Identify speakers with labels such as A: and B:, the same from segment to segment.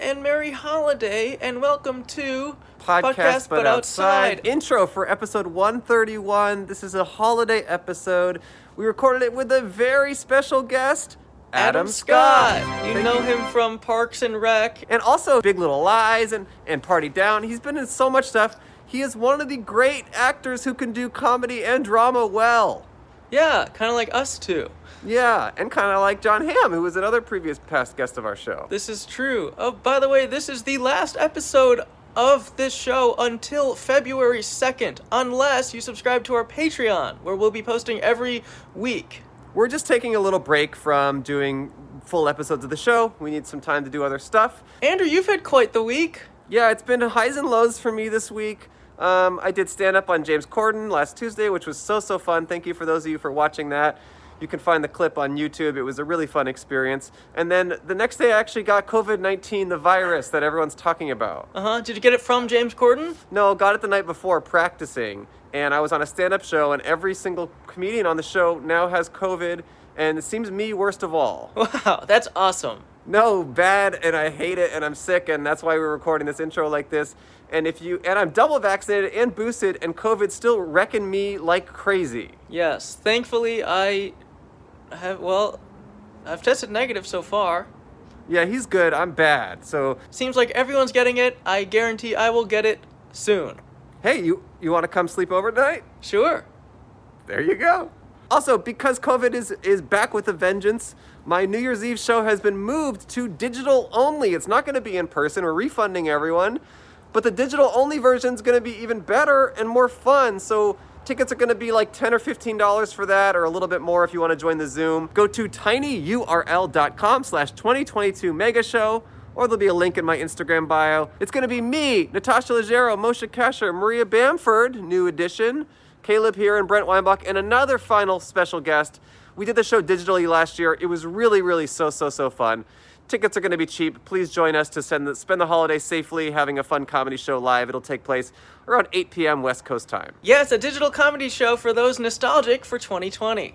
A: and Merry Holiday, and welcome to
B: Podcast, but, outside. Intro for episode 131. This is a holiday episode. We recorded it with a very special guest,
A: Adam Scott. You
B: Thank
A: know him from Parks and Rec.
B: And also Big Little Lies and, and Party Down. He's been in so much stuff. He is one of the great actors who can do comedy and drama well.
A: Yeah, kind of like us two.
B: Yeah, and kind of like John Hamm, who was another previous past guest of our show.
A: This is true. Oh, by the way, this is the last episode of this show until February 2nd, unless you subscribe to our Patreon, where we'll be posting every week.
B: We're just taking a little break from doing full episodes of the show. We need some time to do other stuff.
A: Andrew, you've had quite the week.
B: Yeah, it's been highs and lows for me this week. Um, I did stand up on James Corden last Tuesday, which was so, so fun. Thank you for those of you for watching that. You can find the clip on YouTube. It was a really fun experience. And then the next day, I actually got COVID 19, the virus that everyone's talking about.
A: Uh huh. Did you get it from James Corden?
B: No, got it the night before practicing, and I was on a stand-up show, and every single comedian on the show now has COVID, and it seems me worst of all.
A: Wow, that's awesome.
B: No, bad, and I hate it, and I'm sick, and that's why we're recording this intro like this. And if you and I'm double vaccinated and boosted, and COVID still wrecking me like crazy.
A: Yes, thankfully I have, well, I've tested negative so far.
B: Yeah, he's good. I'm bad. So
A: Seems like everyone's getting it. I guarantee I will get it soon.
B: hey, you you want to come sleep over tonight?
A: Sure.
B: There you go. Also, because COVID is is back with a vengeance, my New Year's Eve show has been moved to digital only. It's not going to be in person. We're refunding everyone, but the digital only version is going to be even better and more fun. So tickets are going to be like ten or fifteen dollars for that, or a little bit more if you want to join the Zoom. Go to tinyurl.com/slash 2022 mega show. Or there'll be a link in my Instagram bio. It's gonna be me, Natasha Leggero, Moshe Kasher, Maria Bamford, new edition, Caleb here and Brent Weinbach, and another final special guest. We did the show digitally last year. It was really, really so, so, so fun. Tickets are going to be cheap. Please join us to send the, spend the holiday safely having a fun comedy show live. It'll take place around 8 p.m. West Coast time.
A: Yes, a digital comedy show for those nostalgic for 2020.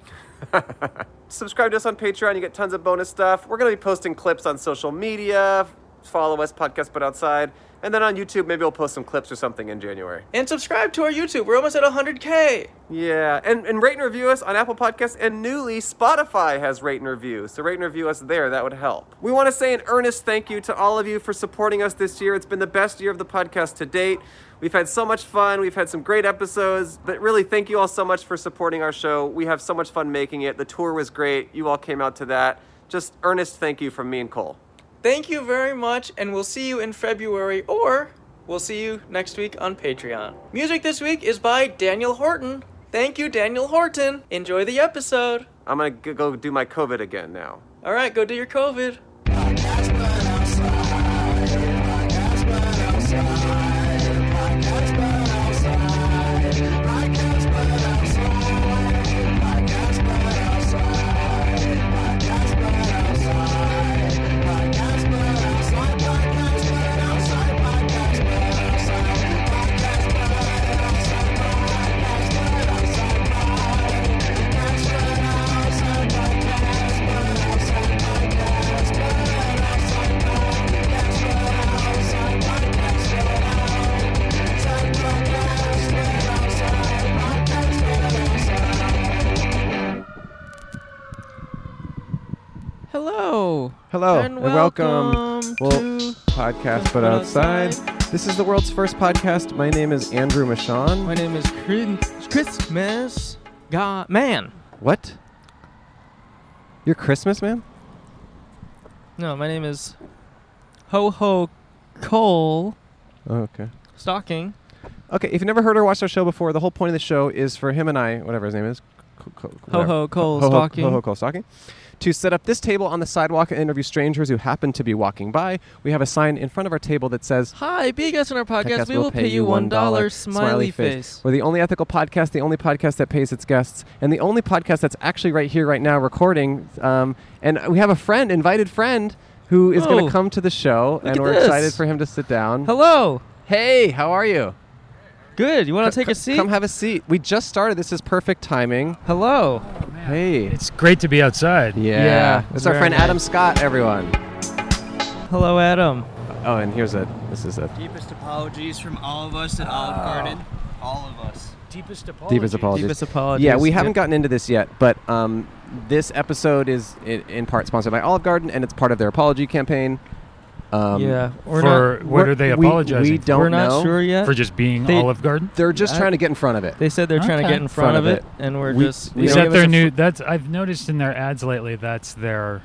B: Subscribe to us on Patreon. You get tons of bonus stuff. We're going to be posting clips on social media. Follow us, Podcast But Outside. And then on YouTube, maybe we'll post some clips or something in January.
A: And subscribe to our YouTube. We're almost at 100K.
B: Yeah, and, and rate and review us on Apple Podcasts, and newly Spotify has rate and review. So rate and review us there, that would help. We want to say an earnest thank you to all of you for supporting us this year. It's been the best year of the podcast to date. We've had so much fun, we've had some great episodes, but really thank you all so much for supporting our show. We have so much fun making it. The tour was great, you all came out to that. Just earnest thank you from me and Cole.
A: Thank you very much, and we'll see you in February, or we'll see you next week on Patreon. Music this week is by Daniel Horton. Thank you, Daniel Horton. Enjoy the episode.
B: I'm gonna g- go do my COVID again now.
A: All right, go do your COVID. Hello.
C: Hello
A: And welcome
C: Well,
A: to
C: podcast but
A: But
C: outside.
A: Outside.
C: This is the world's first podcast. My name is Andrew Michon.
A: My name is Chris- Christmas God Man.
C: What? You're Christmas man?
A: No, my name is Ho Ho Cole
C: Oh, okay.
A: Stocking.
C: Okay. If you've never heard or watched our show before, the whole point of the show is for him and I, whatever his name is, Co- co- whatever.
A: Ho Cole
C: Ho- ho-
A: Stocking.
C: Ho ho Cole Stocking. To set up this table on the sidewalk and interview strangers who happen to be walking by, we have a sign in front of our table that says
A: Hi, be a guest on our podcast.
C: Podcast
A: We will pay you one dollar. Smiley face.
C: We're the only ethical podcast, the only podcast that pays its guests, and the only podcast that's actually right here, right now, recording. Um, and we have a friend, invited friend, who is going
A: Oh.
C: to come to the show, and
A: at
C: we're
A: this.
C: excited for him to sit down.
A: Hello.
C: Hey, how are you?
A: Good. You want to take
C: C-
A: a seat?
C: Come have a seat. We just started. This is perfect timing.
A: Hello.
C: Hey.
D: It's great to be outside.
C: yeah.
A: Yeah,
C: It's our
A: very
C: friend
A: nice.
C: Adam Scott, everyone.
A: Hello, Adam.
B: Oh, and here's a. This is a
E: Deepest apologies from all of us at Olive Garden. All of us.
D: Deepest apologies.
B: deepest apologies.
A: Deepest apologies.
B: Yeah, we haven't
A: Yep.
B: gotten into this yet, but um, this episode is in, in part sponsored by Olive Garden, and it's part of their apology campaign. Um,
A: yeah. We're
D: for
A: not,
D: what
A: we're-
D: are they
B: we-
D: apologizing
B: we
D: for?
B: don't
A: we're not
B: know.
A: sure yet.
D: for just being
A: They-
D: Olive Garden?
B: They're just
A: I-
B: trying to get in front of it.
A: they said they're trying to
D: Okay.
A: get in front, of, it, and we're
B: We-
A: just.
B: we
A: they
D: Is
B: don't
A: gave
D: that
B: give
A: us
B: us
D: their
B: a
D: new? That's I've noticed in their ads lately. That's their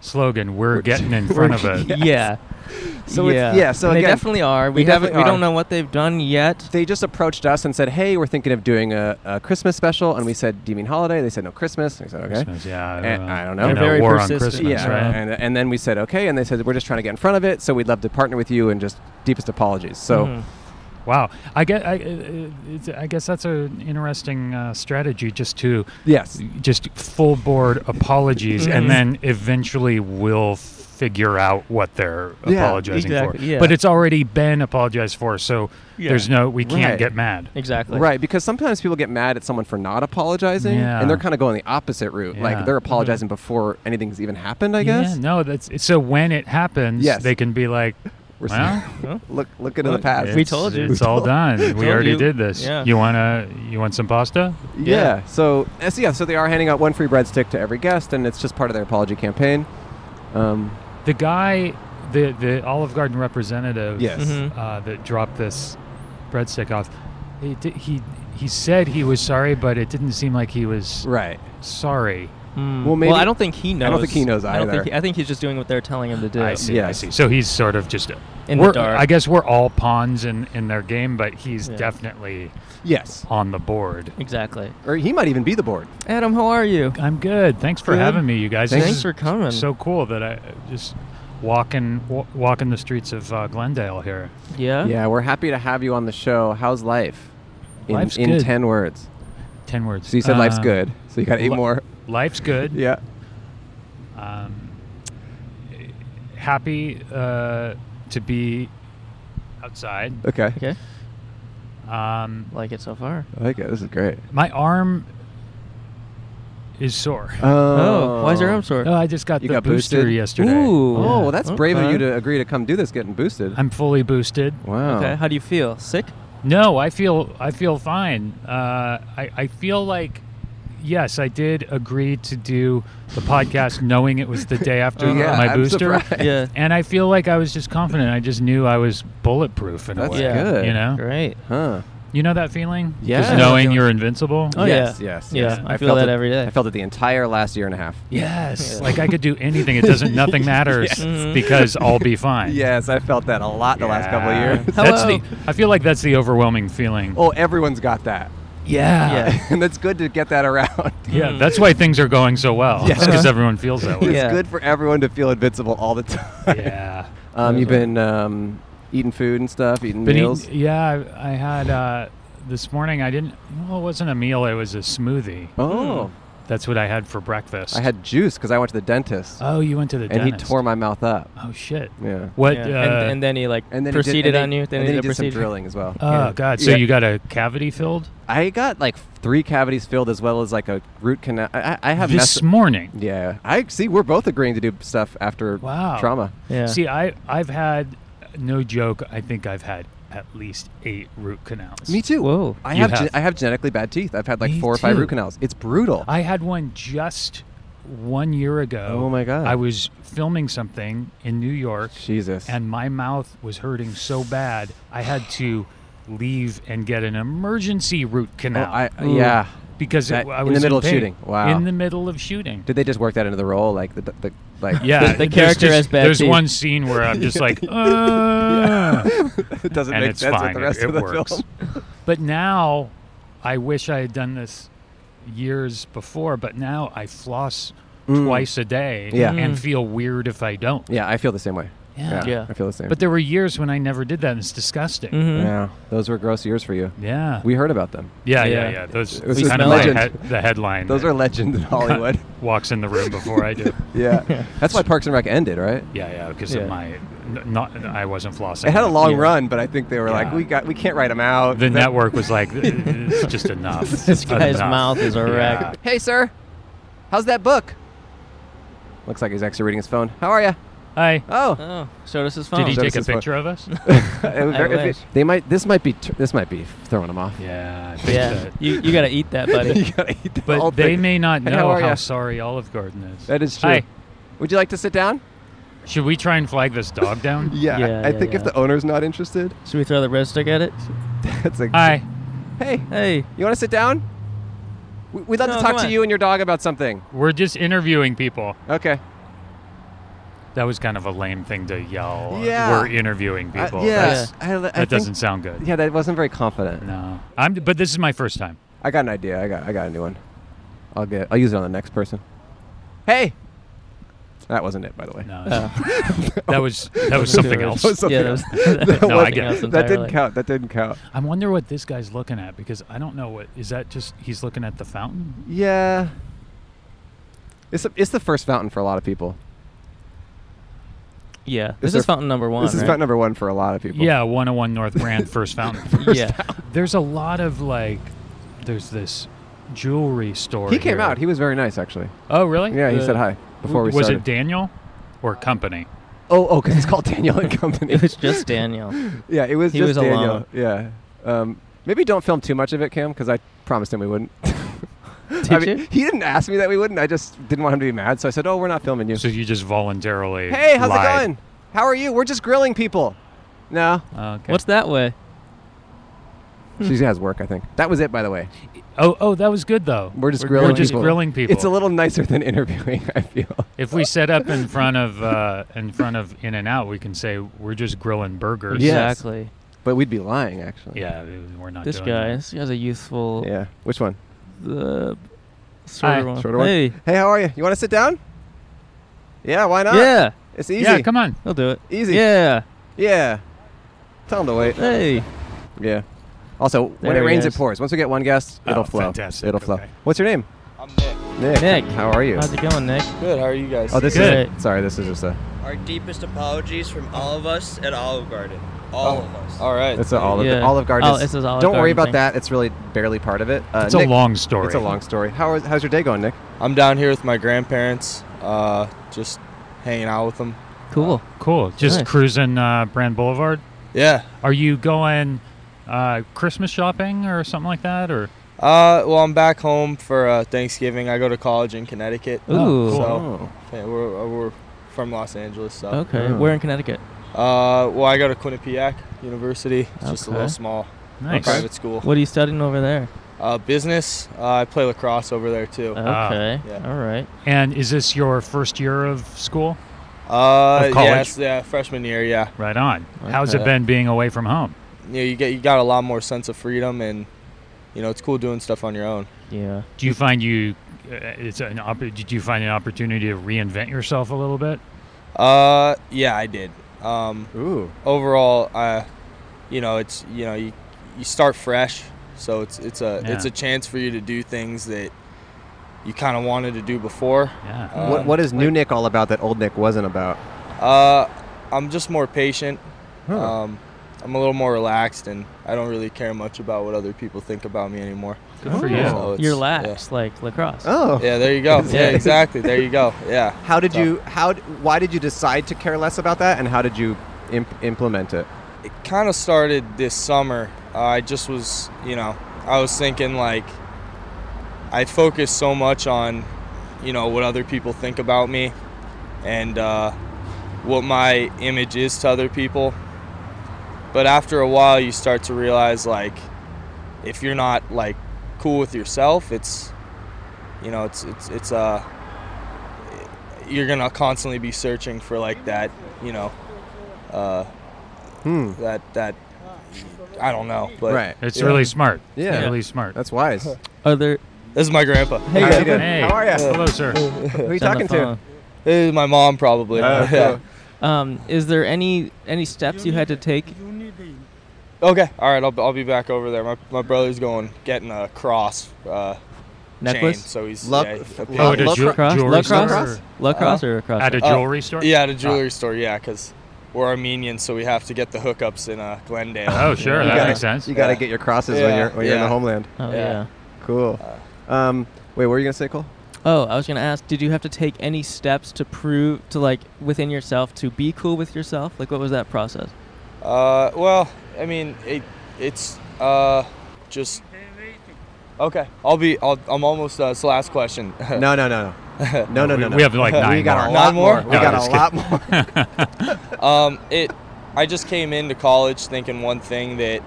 D: slogan. We're getting in front of it.
A: yeah.
B: So it's-
A: yeah.
B: yeah, so
A: And
B: again,
A: they definitely are. We
B: they
A: haven't.
B: definitely
A: We
B: are.
A: don't know what they've done yet.
B: They just approached us and said, "Hey, we're thinking of doing a, a Christmas special," and we said, "Do you mean holiday?" They said, "No, Christmas." I said, "Okay."
D: Christmas, Yeah,
B: Eh, I don't know.
D: You
B: They're
A: very
D: war
A: persistent.
D: on Christmas,
B: Yeah,
D: right?
B: and, and then we said okay, and they said we're just trying to get in front of it, so we'd love to partner with you and just deepest apologies. So
A: Mhm.
D: Wow. I guess, I, uh, it's, I guess that's an interesting uh, strategy just to
B: yes,
D: just full board apologies
A: Mhm.
D: and then eventually we'll figure out what they're
B: Yeah,
D: apologizing for.
A: exactly, yeah.
D: But it's already been apologized for, so
A: Yeah.
D: there's no, we can't
B: Right.
D: get mad.
A: Exactly.
B: right, because sometimes people get mad at someone for not apologizing,
D: Yeah.
B: and they're kind of going the opposite route,
D: Yeah. Mm-hmm.
B: like they're apologizing before anything's even happened. I guess.
D: Yeah, no, that's so when it happens,
B: Yes.
D: they can be like,
B: We're s-
D: well,
B: look, look into the
A: Look,
B: past.
A: We
D: it's-
A: told you.
D: It's all done.
A: told
D: We already
A: you.
D: did this.
A: Yeah.
D: You want to you want some pasta?
B: Yeah.
A: Yeah.
B: So uh, so yeah, so they are handing out one free breadstick to every guest, and it's just part of their apology campaign. Um,
D: The guy the the Olive Garden representative
B: Yes.
A: Mhm.
D: uh, that dropped this breadstick off. He, di- he he said he was sorry, but it didn't seem like he was
B: right.
D: sorry.
A: Mm.
B: Well, maybe-
A: I don't think he knows.
B: don't think he knows
A: I, don't
B: either.
A: think he- I think he's just doing what they're telling him to do.
D: I see. I
B: Yes.
D: see. So he's sort of just
A: In the
D: we're,
A: dark.
D: I guess we're all pawns in in their game, but he's
A: Yeah.
D: definitely
B: Yes.
D: on the board.
A: Exactly.
B: Or he might even be the board.
A: Adam, how are you?
D: I'm good. Thanks for
A: Good.
D: having me, you guys.
A: Thanks
D: This is
A: for coming.
D: So cool that I just walking wa- walking the streets of uh, Glendale here.
A: Yeah.
B: Yeah, we're happy to have you on the show. How's life? In,
D: Life's
B: in
D: good.
B: ten words.
D: Ten words.
B: So you said life's
D: Uh,
B: good. So you got eight
D: li-
B: more.
D: Life's good.
B: Yeah.
D: um, happy uh, to be outside.
B: Okay.
A: Okay.
D: Um,
A: Like it so far.
B: I like it. This is great.
D: my arm is sore.
A: Oh, why is your arm sore?
D: No, I just got
B: Um, You
D: the
B: got
D: booster
B: boosted?
D: yesterday.
A: Ooh.
D: Yeah.
B: Oh, well, that's brave of
A: Okay.
B: you to agree to come do this, getting boosted.
D: I'm fully boosted.
B: wow.
A: Okay. How do you feel? Sick?
D: No, I feel I feel fine. Uh, I I feel like yes, I did agree to do the podcast, knowing it was the day after
B: Yeah,
D: my
B: I'm
D: booster.
B: surprised.
A: Yeah.
D: And I feel like I was just confident. I just knew I was bulletproof in
B: That's
D: a way.
A: Yeah.
B: good.
D: You know,
A: Great.
B: Huh.
D: You know that feeling?
B: Yeah.
D: Just knowing you're invincible?
A: Oh,
B: yes,
A: yeah.
B: yes.
A: Yeah,
B: yes.
A: I feel that
B: it,
A: every day.
B: I felt it the entire last year and a half.
D: Yes.
A: Yeah. Mm-hmm.
D: Like I could do anything. It doesn't, nothing matters
A: Yes.
D: because I'll be fine.
B: Yes, I felt that a lot the Mm-hmm. last couple of
D: Yeah.
B: years.
D: That's
A: Hello.
D: the, I feel like that's the overwhelming feeling.
B: Oh, everyone's got that.
D: yeah.
A: Yeah.
B: and it's good to get that around.
D: Yeah.
A: Mm.
D: That's why things are going so well.
B: Yes.
D: because everyone feels that
B: It's
D: way.
A: Yeah.
B: good for everyone to feel invincible all the time.
D: Yeah.
B: Um, you've been um, eating food and stuff, eating
D: Been
B: meals.
D: eating- yeah. I, I had, uh, this morning I didn't, well, it wasn't a meal. It was a smoothie.
A: Hmm.
B: oh,
D: That's what I had for breakfast.
B: I had juice because I went to the dentist,
D: oh, you went to the
B: and
D: dentist.
B: he tore my mouth up.
D: Oh, shit.
B: Yeah.
D: What,
A: Yeah.
D: uh,
A: and, and then he like
B: And then he did- and
A: proceeded
B: then-
A: on you. Then
B: and then
A: he
B: he
A: did
B: did some
A: proceed.
B: drilling as well.
D: Oh
A: Yeah.
D: God! So
B: Yeah.
D: you got a cavity filled
B: I got like three cavities filled as well as like a root canal. I, I I have
D: this
B: mess-
D: morning.
B: Yeah, I see. We're both agreeing to do stuff after
D: Wow.
B: trauma.
A: Yeah.
D: See, I I've had no joke. I think I've had at least eight root canals.
B: Me too.
A: Whoa.
B: I
D: You
B: have,
D: have.
B: gen- I have genetically bad teeth. I've had like
D: Me
B: four or five
D: too.
B: root canals. It's brutal.
D: I had one just one year ago.
B: Oh, my God.
D: I was filming something in New York,
B: Jesus.
D: and my mouth was hurting so bad I had to leave and get an emergency root
B: Oh,
D: canal
B: I,
A: Ooh.
B: yeah.
D: because
B: that-
D: it, I
B: in
D: was
B: the middle of
D: pain.
B: shooting. Wow.
D: In the middle of shooting.
B: Did they just work that into the role? Like the, the like.
D: yeah,
A: The- the
D: there's
A: character
D: just-
A: has bad
D: There's
A: teeth.
D: one scene where I'm just like, "Uh."
B: it doesn't
D: and
B: make
D: it's
B: sense with
D: fine.
B: the
D: It-
B: rest
D: it
B: of the
D: works.
B: film.
D: But now, I wish I had done this years before. But now I floss
A: Mm.
D: twice a day
B: Yeah.
D: and feel weird if I don't.
B: Yeah, I feel the same way.
D: Yeah.
A: Yeah.
B: I feel the same.
D: But there were years when I never did that, and it's disgusting.
A: Mhm.
B: yeah, those were gross years for you.
D: Yeah.
B: We heard about them.
D: yeah, yeah,
A: Yeah.
D: yeah, Those
B: It was
D: it's
B: just
D: kind of like
B: legend.
D: he- the headline.
B: Those
D: that
B: are legends in Hollywood.
D: walks in the room before I do.
B: yeah, that's why Parks and Rec ended, right?
D: Yeah, yeah, because
A: Yeah.
D: of my n- not I wasn't flossing.
B: It had a long
A: Yeah.
B: run, but I think they were like,
D: Yeah.
B: we got, we can't write them out.
D: The
B: That-
D: network was like, it's just enough.
A: This guy's
D: Enough."
A: mouth is a wreck.
D: Yeah.
B: Hey, sir. How's that book? Looks like he's actually reading his phone. How are you?
D: Hi.
B: Oh,
A: Oh, showed us his phone.
D: Did he
B: Show
D: take a
B: us his phone.
D: picture of us?
B: If it-
A: wish.
B: they might. This might be. tr- This might be throwing them off.
D: yeah. I think
A: yeah,
D: that-
A: you, you gotta eat that, buddy.
B: You gotta eat the whole
D: But they
B: thing.
D: may not
B: Hey,
D: know
B: how
D: how,
B: are ya?
D: sorry Olive Garden is.
B: That is true.
D: Hi.
B: Would you like to sit down?
D: Should we try and flag this dog down?
B: Yeah,
A: I- Yeah, I yeah, think if yeah. the
B: owner's not interested,
A: Should we throw the red stick at it?
B: that's like,
D: Hi.
B: hey,
A: Hey,
B: you want to sit down? We- We'd like
A: No,
B: to talk
A: come
B: to
A: on.
B: you and your dog about something.
D: We're just interviewing people.
B: Okay.
D: That was kind of a lame thing to yell.
B: Yeah.
D: We're interviewing people.
B: yeah,
D: That's-
B: I, I
D: that
B: think-
D: doesn't sound good.
B: Yeah, that wasn't very confident.
D: No. I'm but this is my first time.
B: I got an idea. I got. I got a new one. I'll get. I'll use it on the next person. Hey. That wasn't it, by the way.
D: No. Uh, that was that was something else.
B: Oh. That was something
A: Yeah,
B: else.
A: that was-
B: That
D: No, I
B: wasn't-
D: get it.
B: That didn't
A: Entirely.
B: count. That didn't count.
D: I wonder what this guy's looking at because I don't know what is that just he's looking at the fountain?
B: Yeah. It's, the- it's the first fountain for a lot of people.
A: yeah. This
B: there-
A: is fountain number one.
B: this is
A: right?
B: fountain number one for a lot of people.
D: Yeah, 101 North Brand first fountain.
A: Yeah.
D: There's a lot of like there's this jewelry store.
B: He came
D: here.
B: out. He was very nice, actually.
D: Oh, really?
B: Yeah, he
A: Uh,
B: said hi before we
D: was
B: started.
D: it Daniel or company?
B: oh, oh, because it's called Daniel and Company.
A: It was just Daniel.
B: yeah, it was
A: he
B: just
A: was
B: Daniel.
A: alone.
B: Yeah. Um, maybe don't film too much of it, Cam, because I promised him we wouldn't.
A: Did
B: I mean,
A: you?
B: he didn't ask me that we wouldn't. I just didn't want him to be mad, so I said, "Oh, we're not filming you."
D: So you just voluntarily
B: hey, how's
D: lied.
B: it going? How are you? We're just grilling people. No,
D: Oh, okay.
A: What's that way?
B: she has work, I think. That was it, by the way.
D: Oh, oh, that was good though.
B: We're just
A: We're
B: grilling.
D: We're just
B: people.
D: grilling people.
B: It's a little nicer than interviewing. I feel.
D: If we set up in front of uh, in front of In and Out, we can say we're just grilling burgers.
B: Yeah. Yes.
A: Exactly.
B: But we'd be lying, actually.
D: Yeah, we're not.
A: This
D: doing
A: guy.
D: that.
A: This guy's a youthful.
B: Yeah. Which one?
A: The
D: Hi.
A: shorter one.
B: Shorter one?
A: Hey.
B: Hey, how are you? You want to sit down? Yeah, why not?
A: yeah.
B: It's easy.
D: Yeah, come on.
A: He'll do it.
B: Easy.
A: Yeah.
B: Yeah. Tell him to wait.
A: Hey.
B: Yeah. Also, when it
A: There he
B: rains,
A: is.
B: it pours. Once we get one guest,
D: Oh,
B: it'll flow.
D: fantastic.
B: It'll flow.
D: Okay.
B: What's your name?
F: I'm Nick.
B: Nick.
A: Nick.
B: How are you?
A: How's it going, Nick?
F: Good. How are you guys?
B: Oh, this
D: Good.
B: is sorry. This is just a.
E: Our deepest apologies from all of us at Olive Garden.
F: all
E: of us.
F: All right.
B: Oh. It's an olive.
A: Yeah.
B: Olive Garden.
A: Oh,
B: is-
A: this is Olive
B: Don't worry
A: Garden
B: about
A: thing.
B: that. It's really barely part of it. Uh,
D: It's
B: Nick-
D: a long story.
B: It's a long story. How is, how's your day going, Nick?
F: I'm down here with my grandparents, uh, just hanging out with them.
A: Cool.
D: Cool. Just
A: Nice.
D: cruising uh, Brand Boulevard.
F: Yeah.
D: Are you going uh, Christmas shopping or something like that? Or
F: Uh, well, I'm back home for uh, Thanksgiving. I go to college in Connecticut.
A: Ooh.
D: Oh, cool.
F: So yeah, we're, uh, we're from Los Angeles. So.
A: Okay.
B: Oh.
A: We're in Connecticut.
F: Uh, well, I go to Quinnipiac University. It's just a
A: Okay.
F: little small
D: nice.
F: private school.
A: What are you studying over there?
F: Uh, business. Uh, I play lacrosse over there too.
D: Ah.
A: Okay.
F: Yeah.
A: All right.
D: Uh, And is this your first year of school?
F: Uh,
D: Of college?
F: yeah, it's- yeah, freshman year. Yeah.
D: Right on. How's it
F: Okay.
D: been being away from home?
F: You know, you get you got a lot more sense of freedom, and you know, it's cool doing stuff on your own.
A: Yeah.
D: Do you find you? Uh, it's an. Opp- did you find an opportunity to reinvent yourself a little bit?
F: Uh, yeah, I did. Um,
B: Ooh.
F: overall, uh, you know, it's you know, you you start fresh, so it's it's a it's
D: Yeah.
F: a chance for you to do things that you kind of wanted to do before.
D: Yeah.
F: Uh,
B: what, what is new Nick all about that old Nick wasn't about?
F: Uh, I'm just more patient.
B: Huh.
F: Um, I'm a little more relaxed, and I don't really care much about what other people think about me anymore.
D: Good for
B: Oh.
D: you.
F: So it's-
A: You're
F: yeah.
A: lax, like lacrosse.
B: Oh.
F: Yeah, there you go.
B: Is
F: Yeah,
B: it?
F: exactly. There you go. Yeah.
B: How did
F: So-
B: you? How? d- Why did you decide to care less about that? And how did you imp- implement it?
F: it kind of started this summer. Uh, I just was, you know, I was thinking like I focus so much on, you know, what other people think about me and uh, what my image is to other people. But after a while, you start to realize like if you're not like cool with yourself, it's, you know, it's it's it's uh you're gonna constantly be searching for like that, you know. Uh,
B: Hmm.
F: that that I don't know. But
B: right.
D: It's
F: Yeah.
D: really smart.
B: Yeah.
D: It's really smart.
B: That's wise.
A: Are there?
F: this is my grandpa.
A: Hey,
B: How you
A: Devin.
B: doing?
D: Hey.
B: How are you?
D: Hello, sir.
B: Who are you
A: It's on the
B: talking to?
A: phone.
F: This is my mom probably.
B: Oh,
F: Yeah.
A: Um, is there any any steps you had to take?
F: Okay. All right. I'll, I'll be back over there. My, my brother's going getting a cross uh, Chain,
A: Necklace,
F: so he's
B: Luck-
F: yeah, a
B: luck-
D: Oh,
F: pin-
D: at a
B: Lacrosse?
D: ju-
A: Lacrosse?
D: jewelry store
A: Lacrosse?
D: or-
A: lacrosse, or lacrosse?
D: At a
F: Uh,
D: jewelry store?
F: yeah, at a jewelry store. Yeah, because we're Armenian, so we have to get the hookups in uh, Glendale.
D: Oh, sure.
A: You
D: That
B: gotta-
D: makes sense.
B: You got to
F: Yeah.
B: get your crosses when
F: Yeah.
B: you're when you're in the
F: Yeah.
B: homeland.
A: oh
F: yeah.
A: yeah.
B: Cool. Um, wait, what were you gonna say, Cole?
A: Oh, I was gonna ask, did you have to take any steps to prove to like within yourself to be cool with yourself? Like, what was that process?
F: Uh, well, I mean, it, it's uh, just okay. I'll be. I'll, I'm almost. Uh, it's the last question.
G: No, no, no, no, no, no, no. no.
D: we have like
G: we
D: nine
G: got a
D: more.
G: lot
F: Nine
G: more.
F: more?
G: We
D: No,
G: got a
D: just
G: lot more.
F: Um, it. I just came into college thinking one thing that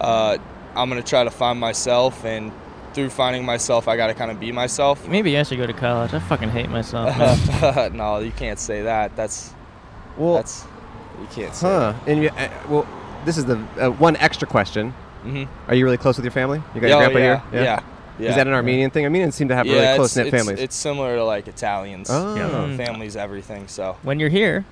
F: uh, I'm gonna try to find myself, and through finding myself, I gotta kind of be myself.
A: Maybe I should go to college. I fucking hate myself. man.
F: no, you can't say that. That's
B: Well,
F: that's you can't say.
B: huh? And you, uh, well, this is the uh, one extra question.
F: Mm-hmm.
B: Are you really close with your family? You got
F: yeah,
B: your grandpa
F: yeah,
B: here.
F: yeah, yeah,
B: Is that an Armenian thing? Armenians seem to have really
F: it's-
B: close knit
F: it's-
B: families.
F: It's similar to like Italians.
B: Oh. Mm-hmm.
F: You know,
A: Mm.
F: families, everything. So
A: when you're here,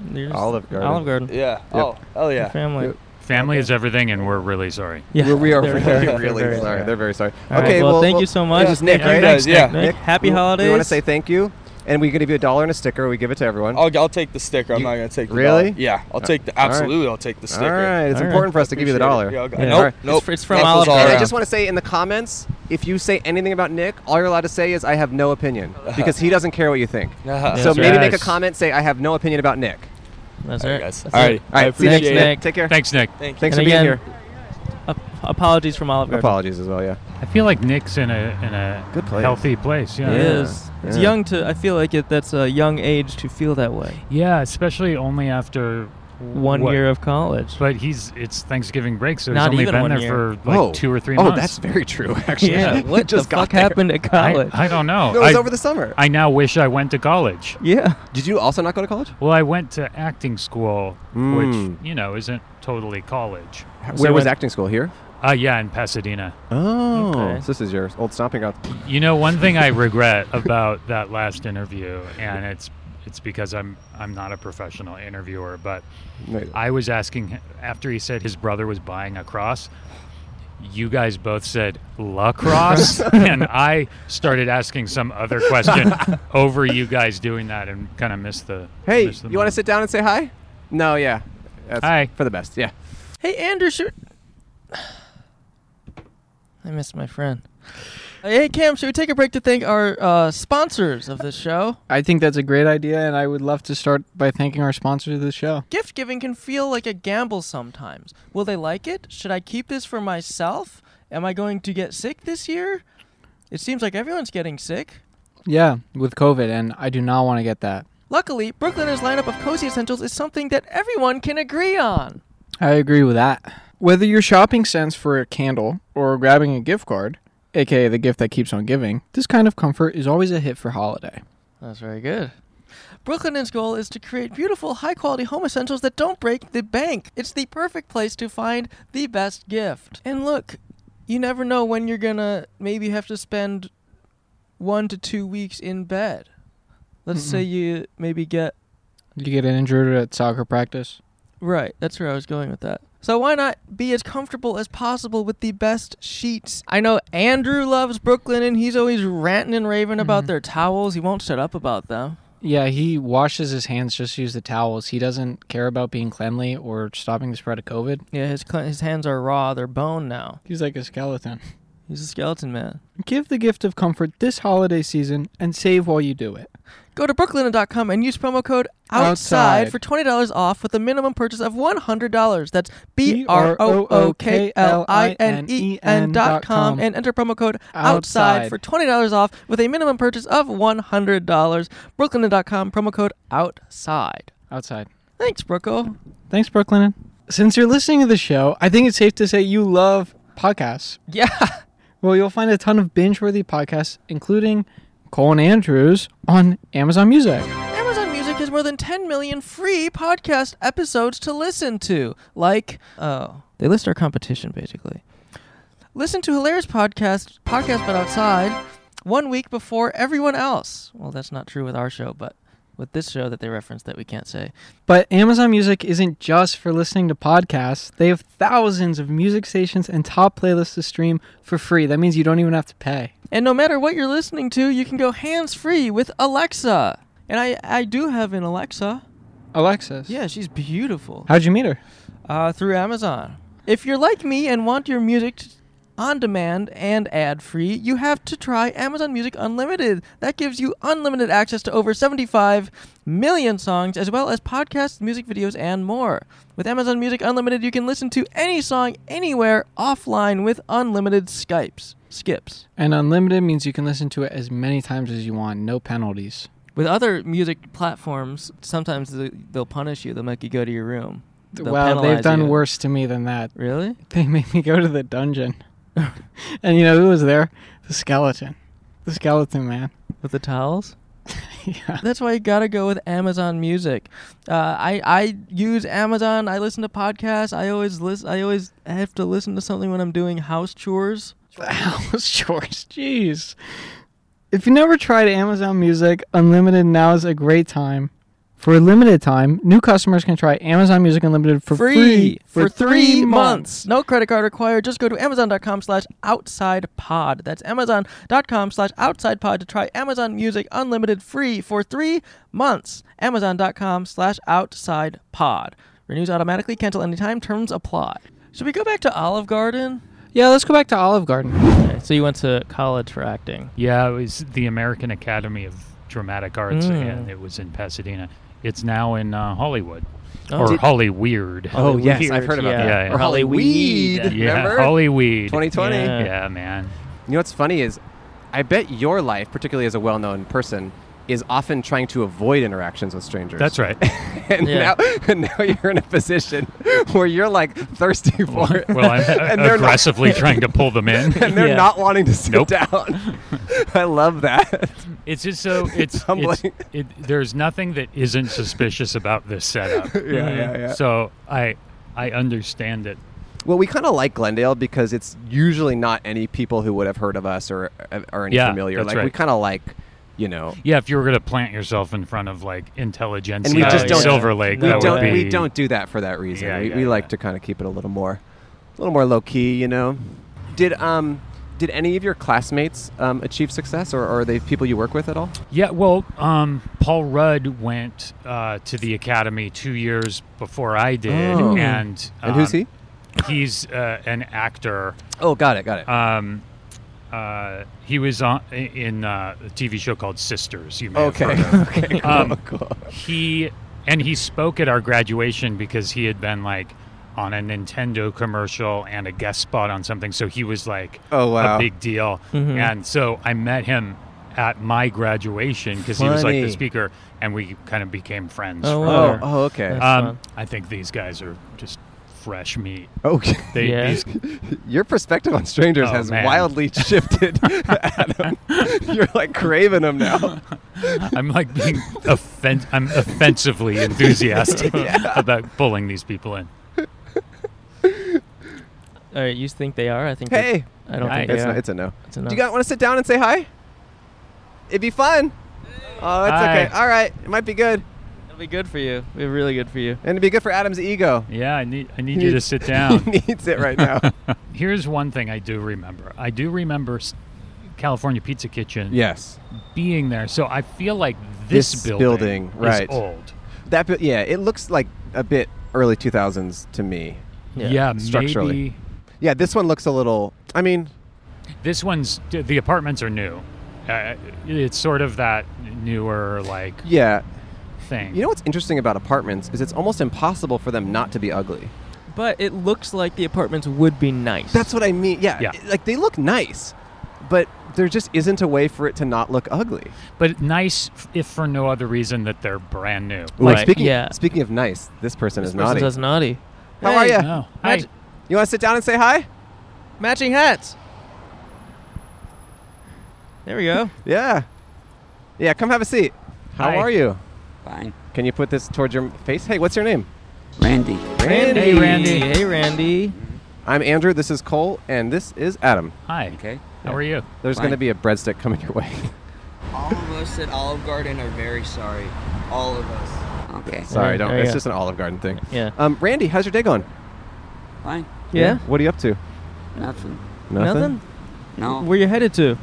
A: there's
B: Olive Garden.
A: Olive Garden.
F: yeah. Oh, hell yeah.
A: Family.
B: Yep.
D: Family is everything, and we're really sorry.
A: Yeah.
B: We're- we are
A: They're
B: really,
A: very-
B: really
A: very-
B: sorry. They're very sorry.
A: All right, well, thank you so much.
B: This is Nick,
D: Thank you
B: right?
D: guys.
F: Yeah.
A: Nick, happy
B: we- We want to
A: holidays.
B: say thank you, and we give you a dollar and a sticker. We give it to everyone.
F: I'll, I'll take the sticker. I'm
B: You-
F: not gonna take the
B: Really? Uh,
F: dollar. Yeah, I'll take the
B: all right.
F: absolutely. I'll take the sticker.
B: All right, it's
A: All right.
B: important for us to give you the dollar.
F: Yeah, okay.
A: Yeah.
F: Nope,
A: All right.
F: nope.
A: It's- it's from
F: Knuckles
A: Olive
F: all
B: And I
F: around.
B: just want to say in the comments, if you say anything about Nick, all you're allowed to say is "I have no opinion" because he doesn't care what you think.
F: Yeah.
B: so
A: That's
B: maybe
D: right.
B: make a comment, say "I have no opinion about Nick."
A: That's
D: Uh,
F: All
A: right.
F: right, guys.
A: That's
F: All
A: it.
F: right.
B: All right,
F: I
B: see you next,
A: appreciate it.
B: Nick. Take care.
D: Thanks, Nick.
F: Thank you.
B: Thanks
A: And
B: for
A: again,
B: being here.
A: ap- apologies from Olive Garden.
B: Apologies as well. Yeah.
D: I feel like Nick's in a in a
B: Good place.
D: healthy place. Yeah.
A: It
B: Yeah.
A: is. It's
B: Yeah.
A: young to. I feel like it. That's a young age to feel that way.
D: Yeah, especially only after
A: One
D: what-
A: year of college.
D: But he's it's Thanksgiving break, so
A: Not
D: he's only
A: even
D: been
A: one
D: there
A: year.
D: for like
B: oh,
D: two or three
B: oh,
D: months.
B: that's very true. Actually.
A: yeah.
B: He
A: What
B: just
A: the
B: got
A: fuck
B: there.
A: happened at college?
D: I, I don't know.
B: No, it was
D: I,
B: over the summer.
D: I now wish I went to college.
A: yeah.
B: Did you also not go to college?
D: Well, I went to acting school,
B: Mm.
D: which you know isn't totally college.
B: Where was
A: when-
B: acting school here?
D: Uh, yeah, in Pasadena.
B: Oh,
A: Okay.
B: so this is your old stomping ground.
D: You know, one thing I regret about that last interview, and it's it's because I'm I'm not a professional interviewer, but
B: Wait,
D: I was asking h- after he said his brother was buying a cross. You guys both said lacrosse, and I started asking some other question over you guys doing that, and kind of missed the.
B: Hey,
D: missed the
B: you want to
D: moment.
B: sit down and say hi? No, yeah. That's
D: Hi.
B: For the best, yeah.
A: Hey, Andrew. Should... I missed my friend. Hey, Cam. Should we take a break to thank our uh, sponsors of this show?
H: I think that's a great idea, and I would love to start by thanking our sponsor of the show.
A: Gift giving can feel like a gamble sometimes. Will they like it? Should I keep this for myself? Am I going to get sick this year? It seems like everyone's getting sick.
H: Yeah, with COVID, and I do not want to get that.
A: Luckily, Brooklyners' lineup of cozy essentials is something that everyone can agree on.
H: I agree with that. Whether you're shopping sense for a candle or grabbing a gift card, aka the gift that keeps on giving, this kind of comfort is always a hit for holiday.
A: That's very good. Brooklyn's goal is to create beautiful, high quality home essentials that don't break the bank. It's the perfect place to find the best gift. And look, you never know when you're gonna maybe have to spend one to two weeks in bed. Let's say you maybe get.
H: Did you get injured at soccer practice?
A: Right, that's where I was going with that. So why not be as comfortable as possible with the best sheets? I know Andrew loves Brooklyn and he's always ranting and raving about their towels. He won't shut up about them.
H: Yeah, he washes his hands just to use the towels. He doesn't care about being cleanly or stopping the spread of COVID.
A: Yeah, his cl- his hands are raw. They're bone now.
H: He's like a skeleton.
A: He's a skeleton man.
H: Give the gift of comfort this holiday season and save while you do it.
A: Go to brooklinen.com and use promo code outside,
H: Outside.
A: for twenty dollars off with a minimum purchase of one hundred dollars. That's b r o o k l i n e n dot com and enter promo code outside,
H: Outside.
A: for twenty dollars off with a minimum purchase of one hundred dollars. Brooklinen.com promo code outside.
H: Outside.
A: Thanks, Brooko.
H: Thanks, Brooklyn. Since you're listening to the show, I think it's safe to say you love podcasts.
A: Yeah.
H: Well, you'll find a ton of binge worthy podcasts, including Colin Andrews on Amazon Music.
A: Amazon Music has more than 10 million free podcast episodes to listen to. Like, oh, they list our competition basically. Listen to hilarious podcast, podcast but outside, one week before everyone else. Well, that's not true with our show, but with this show that they reference that we can't say.
H: But Amazon Music isn't just for listening to podcasts, they have thousands of music stations and top playlists to stream for free. That means you don't even have to pay.
A: And no matter what you're listening to, you can go hands free with Alexa. And I, I do have an Alexa.
H: Alexis.
A: Yeah, she's beautiful.
H: How'd you meet her?
A: Uh, through Amazon. If you're like me and want your music t- on demand, and ad free, you have to try Amazon Music Unlimited. That gives you unlimited access to over 75 million songs, as well as podcasts, music videos, and more. With Amazon Music Unlimited, you can listen to any song anywhere offline with unlimited Skypes. Skips.
H: And unlimited means you can listen to it as many times as you want, no penalties.
A: With other music platforms, sometimes th- they'll punish you. They'll make you go to your room. They'll
H: well, they've
A: penalize
H: done
A: you.
H: worse to me than that.
A: Really?
H: They made me go to the dungeon. and you know who was there? The skeleton. The skeleton man.
A: With the towels?
H: yeah.
A: That's why you gotta go with Amazon Music. Uh, I I use Amazon. I listen to podcasts. I always listen. I always have to listen to something when I'm doing house chores.
H: House chores. Jeez. If you never tried Amazon Music, Unlimited now is a great time. For a limited time, new customers can try Amazon Music Unlimited for free,
A: for three months. No credit card required. Just go to amazon.com slash outside pod. That's amazon.com slash outside pod to try Amazon Music Unlimited free for three months. Amazon.com slash outside pod. Renews automatically, cancel anytime, terms apply. Should we go back to Olive Garden?
H: Yeah, let's go back to Olive Garden.
A: Okay, so you went to college for acting.
D: Yeah, it was the American Academy of Dramatic Arts,
A: Mm.
D: and it was in Pasadena. It's now in uh, Hollywood,
A: Oh.
D: or
A: Did-
D: Hollyweird.
B: Oh, yes, I've heard about
A: yeah.
D: Yeah,
B: that.
D: yeah.
B: Or
G: Hollyweed.
B: Hollyweed.
D: yeah,
B: Remember?
D: Hollyweed.
B: 2020.
A: Yeah.
D: Yeah, man.
B: You know what's funny is, I bet your life, particularly as a well-known person, is often trying to avoid interactions with strangers.
D: That's right.
B: and
A: Yeah.
B: now, and now you're in a position where you're like thirsty for it.
D: Well, I'm
B: And they're not-
D: aggressively trying to pull them in.
B: and they're
A: Yeah.
B: not wanting to sit
D: Nope.
B: down. I love that.
D: It's just so it's, it's
B: humbling.
D: it, there's nothing that isn't suspicious about this setup.
B: Yeah, yeah, yeah.
D: So I I understand it.
B: Well, we kind of like Glendale because it's usually not any people who would have heard of us or or any
D: Yeah,
B: familiar.
D: that's
B: Like
D: right.
B: we kind of like, you know,
D: Yeah, if you were gonna plant yourself in front of like intelligentsia,
B: we just
D: like
B: don't-
D: Silver Lake,
A: we
D: that
B: don't
D: would be
B: we don't do that for that reason.
D: Yeah,
B: we
D: yeah,
B: we like
D: yeah.
B: to kind of keep it a little more, a little more low key. You know, did um did any of your classmates um, achieve success, or, or are they people you work with at all?
D: Yeah, well, um, Paul Rudd went uh, to the academy two years before I did,
B: Oh.
D: and
B: And who's
D: um,
B: he?
D: He's uh, an actor.
B: Oh, got it, got it.
D: Um, uh, he was on in uh, a TV show called Sisters. You may have
B: okay,
D: heard of.
B: okay, cool,
D: Um,
B: cool.
D: he and he spoke at our graduation because he had been like on a Nintendo commercial and a guest spot on something, so he was like
B: Oh, wow.
D: a big deal.
A: Mm-hmm.
D: And so I met him at my graduation because he was like
B: Funny.
D: the speaker, and we kind of became friends.
A: Oh,
D: from
A: wow.
B: Oh,
D: there.
B: oh, okay,
A: That's
D: Um,
A: fun.
D: I think these guys are just fresh meat.
B: okay.
D: They,
A: Yeah.
D: these-
B: Your perspective on strangers
D: Oh,
B: has
D: man.
B: wildly shifted. Adam. You're like craving them now.
D: I'm like being offen- I'm offensively enthusiastic about pulling these people in.
A: All right, you think they are? I think.
B: Hey,
A: they, I don't
D: Hi.
A: think
B: it's,
A: they
B: no,
A: are.
B: it's a no.
A: It's a no.
B: Do you guys want to sit down and say hi? It'd be fun. Oh, it's
D: Hi.
B: okay. All right, it might be good,
A: It'll be good for you. It'll be really good for you.
B: and it'd be good for Adam's ego.
D: Yeah, I need I need you to sit down.
B: he needs it right now.
D: Here's one thing I do remember. I do remember s- California Pizza Kitchen
B: yes,
D: being there. So I feel like this,
B: This building,
D: building,
B: right.
D: is old.
B: that. bu- Yeah, it looks like a bit early 2000s to me.
D: Yeah,
B: structurally.
D: maybe
B: Yeah, this one looks a little. I mean,
D: this one's d- the apartments are new. Uh, it's sort of that newer like
B: yeah.
D: thing.
B: You know what's interesting about apartments is it's almost impossible for them not to be ugly.
A: But it looks like the apartments would be nice.
B: That's what I mean. Yeah,
D: Yeah.
B: like they look nice, but there just isn't a way for it to not look ugly.
D: but nice f- if for no other reason that they're brand new.
B: Like
A: Right,
B: speaking,
A: yeah.
B: speaking of nice, this person is naughty.
A: That's naughty.
B: How are
A: Hey,
B: ya?
D: No.
A: That's-
D: I,
B: You want to sit down and say hi?
A: Matching hats. There we go.
B: Yeah. Yeah, come have a seat. How
D: Hi.
B: are you?
I: Fine.
B: Can you put this towards your face? Hey, what's your name?
I: Randy.
B: Randy. Mm-hmm.
D: Hey, Randy.
A: Hey, Randy.
B: I'm Andrew. This is Cole, and this is Adam.
D: hi.
I: Okay.
D: How are you?
B: There's
I: Fine.
B: going to be a breadstick coming your way.
E: All of us at Olive Garden are very sorry. All of us.
I: Okay.
B: Sorry,
A: Yeah,
B: don't.
A: yeah,
B: It's
A: Oh, yeah.
B: just an Olive Garden thing.
A: Yeah.
B: Um, Randy, how's your day going?
I: Fine.
A: Yeah?
B: What are you up to?
I: Nothing.
A: Nothing?
I: No.
A: Where you headed to?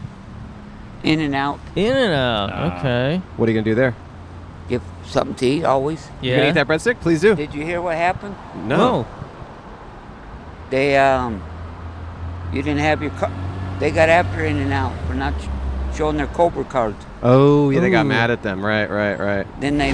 I: In and out.
A: In and out.
D: Ah.
A: okay.
B: What are you going to do there?
I: Give something to eat always.
B: You going
A: Yeah.
B: to eat that breadstick? Please do.
I: Did you hear what happened?
B: no.
I: They um You didn't have your. Co- they got after In and Out for not sh- showing their Cobra card.
B: Oh, yeah, they got
H: Ooh.
B: mad at them. Right, right, right.
I: Then they,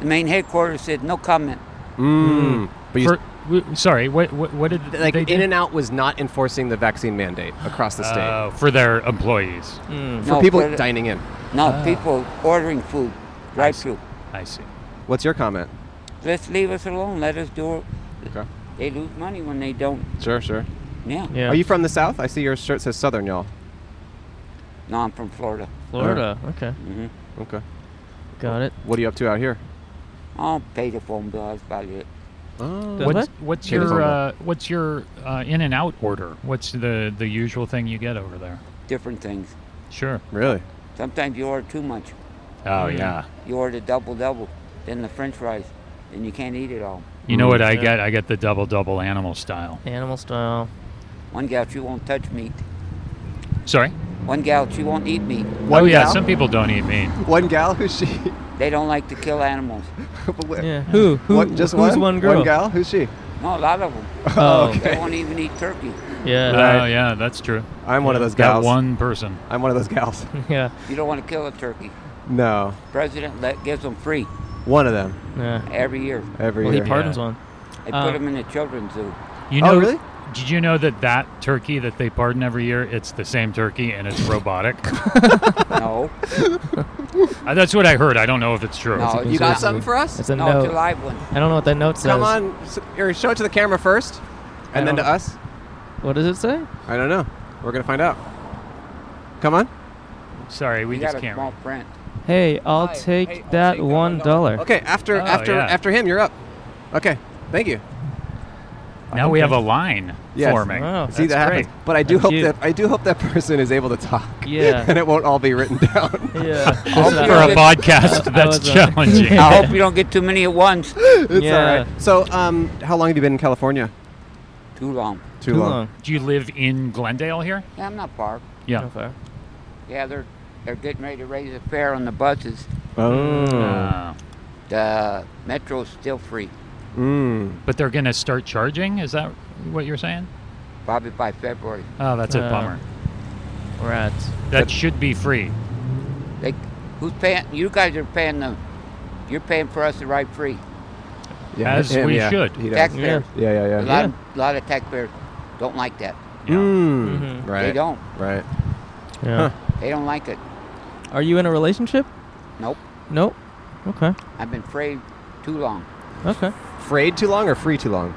I: the main headquarters said no comment.
B: Mm. But you,
D: For- w- sorry, what, what, what did
B: like
D: they do?
B: In and Out was not enforcing the vaccine mandate across the state
D: Uh, for their employees.
B: for
I: Hmm. no,
B: people
I: put it-
B: dining in.
I: No,
A: Ah.
I: people ordering food, drive through.
D: I see.
B: What's your comment?
I: Let's leave us alone. Let us do. it.
B: Okay.
I: They lose money when they don't.
B: Sure, sure.
I: Yeah.
A: Yeah.
B: Are you from the South? I see your shirt says Southern, y'all.
I: No, I'm from Florida.
A: Florida. Okay.
I: hmm
B: Okay.
A: Got it.
B: What are you up to out here?
I: I'll pay the phone bill. That's about it.
B: Oh.
A: Does
D: What's,
A: it?
D: what's
B: Yeah, it's
D: your
B: all
D: uh, what's your uh, in and out order? What's the the usual thing you get over there?
I: Different things.
D: Sure.
B: Really?
I: Sometimes you order too much.
D: uh, Oh
A: Mm.
D: yeah.
I: You order double double, then the French fries, then you can't eat it all.
D: You know what I
A: Mm, yeah.
D: get? I get the double double animal style.
A: Animal style.
I: One gal she won't touch meat.
D: Sorry.
I: One gal she won't eat meat.
B: One
D: oh yeah.
B: gal?
D: Some people don't eat meat.
B: One gal who's she?
I: They don't like to kill animals.
A: Yeah. Who? Who?
B: What, just
A: who's
B: one?
A: one, girl?
B: One gal? Who's she?
I: No, a lot of them.
A: Oh.
I: They won't even eat turkey.
A: Yeah.
D: Oh yeah, that's true.
B: I'm one of those
D: That
B: gals.
D: one person.
B: I'm one of those gals.
A: Yeah.
I: You don't want to kill a turkey.
B: No,
I: President let, gives them free
B: one of them
A: Yeah.
I: every year.
B: every
A: Well, he
B: year.
A: pardons one.
I: They
A: Um,
I: put them in the children's zoo.
D: You
B: Oh,
D: know?
B: really?
D: Did you know that that turkey that they pardon every year, it's the same turkey and it's robotic?
I: No,
D: Uh, that's what I heard. I don't know if it's true.
I: no,
B: you
I: it's
B: got
I: not.
B: something for us?
A: It's a
I: No, it's a
A: note.
I: live one.
A: I don't know what that note says.
B: Come on, s- or show it to the camera first,
A: I
B: and then
A: don't-
B: to us.
A: What does it say?
B: I don't know. We're gonna find out. Come on.
D: Sorry, we
I: you
D: just
I: got a
D: can't.
I: small print.
A: Hey, I'll take that one dollar.
B: Okay, after
D: Oh,
B: after
D: yeah.
B: after him, you're up. Okay, thank you.
D: Now we have a line
B: Yes.
D: forming.
A: Wow.
B: See
D: That's
B: that
D: great.
B: happens, but I do
A: That's
B: hope
A: you.
B: that I do hope that person is able to talk.
A: Yeah.
B: and it won't all be written down.
A: Yeah.
I: I'll
A: This is
I: be
D: For
A: a-
D: a podcast, that's
A: was, uh,
D: challenging.
I: I hope you don't get too many at once.
B: it's
A: Yeah.
B: all right. So, um, how long have you been in California?
I: Too long.
B: Too,
D: Do you live in Glendale here?
I: Yeah, I'm not far.
D: Yeah.
A: Okay.
I: Yeah, they're they're getting ready to raise a fare on the buses.
B: Oh.
D: Uh,
I: The metro's still free.
B: Mm.
D: but they're going to start charging? Is that what you're saying?
I: Probably by February.
D: Oh, that's a
A: Uh,
D: bummer.
A: Rats.
D: That should be free.
I: They, who's paying? You guys are paying them. You're paying for us to ride free.
B: Yeah,
D: As
B: him,
D: we
B: yeah.
D: should.
B: He does.
I: Taxpayers.
B: Yeah, yeah, yeah.
I: A lot, of, lot of taxpayers don't like that.
D: Yeah.
B: Mm.
A: Mhm.
B: Right.
I: Hmm. They don't.
B: Right.
A: Yeah.
I: They don't like it.
A: Are you in a relationship?
I: Nope.
A: Nope. Okay.
I: I've been free too long.
A: Okay.
B: Frayed too long or free too long?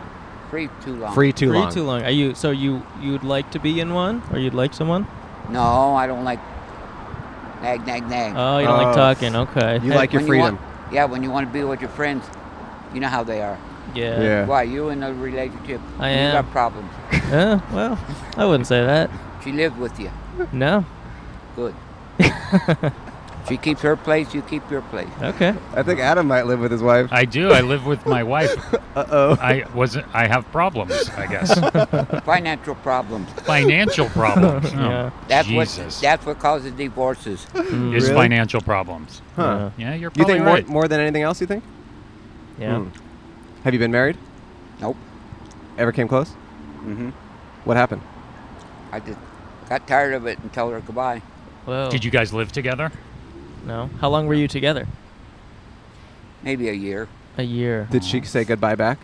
I: Free too long.
B: Free too
A: Three
B: long.
A: too long. Are you so you you'd like to be in one or you'd like someone?
I: No, I don't like nag, nag, nag.
A: Oh, you don't
B: Oh.
A: like talking. Okay.
B: You like your
I: When you
B: freedom.
I: want- yeah, when you want to be with your friends, you know how they are.
A: Yeah.
B: yeah.
I: Why you in a relationship?
A: I
I: you
A: am.
I: got problems.
A: Uh, well, I wouldn't say that.
I: She lives with you.
A: No.
I: Good. she keeps her place. You keep your place.
A: Okay.
B: I think Adam might live with his wife.
D: I do. I live with my wife.
B: Uh oh.
D: I wasn't. I have problems. I guess
I: Financial problems.
D: financial problems. Oh,
A: Yeah. Hmm.
I: That's
D: Jesus
I: what. That's what causes divorces.
D: is
B: Hmm. Really?
D: financial problems.
B: Huh.
D: Yeah,
B: You
D: you're probably
B: think
D: right.
B: more, more than anything else? You think?
A: Yeah.
B: Hmm. Have you been married?
I: Nope.
B: Ever came close?
I: hmm
B: Mm-hmm. What happened?
I: I just got tired of it and told her goodbye.
A: Whoa.
D: Did you guys live together?
A: No. How long were you together?
I: Maybe a year.
A: A year.
B: Did she say goodbye back?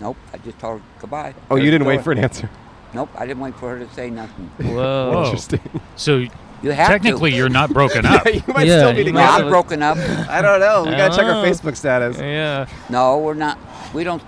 I: Nope. I just told her goodbye.
B: Oh, you didn't wait for an answer.
I: Nope. I didn't wait for her to say nothing.
D: Whoa.
A: Whoa.
B: Interesting.
D: So
I: You have
D: technically,
I: to.
D: you're not broken up.
B: you might
A: Yeah,
B: still be
A: you
I: We're
B: together.
A: might-
I: not broken up.
B: I don't know. We gotta check her
A: Oh.
B: Facebook status.
A: Yeah.
I: No, we're not. We don't.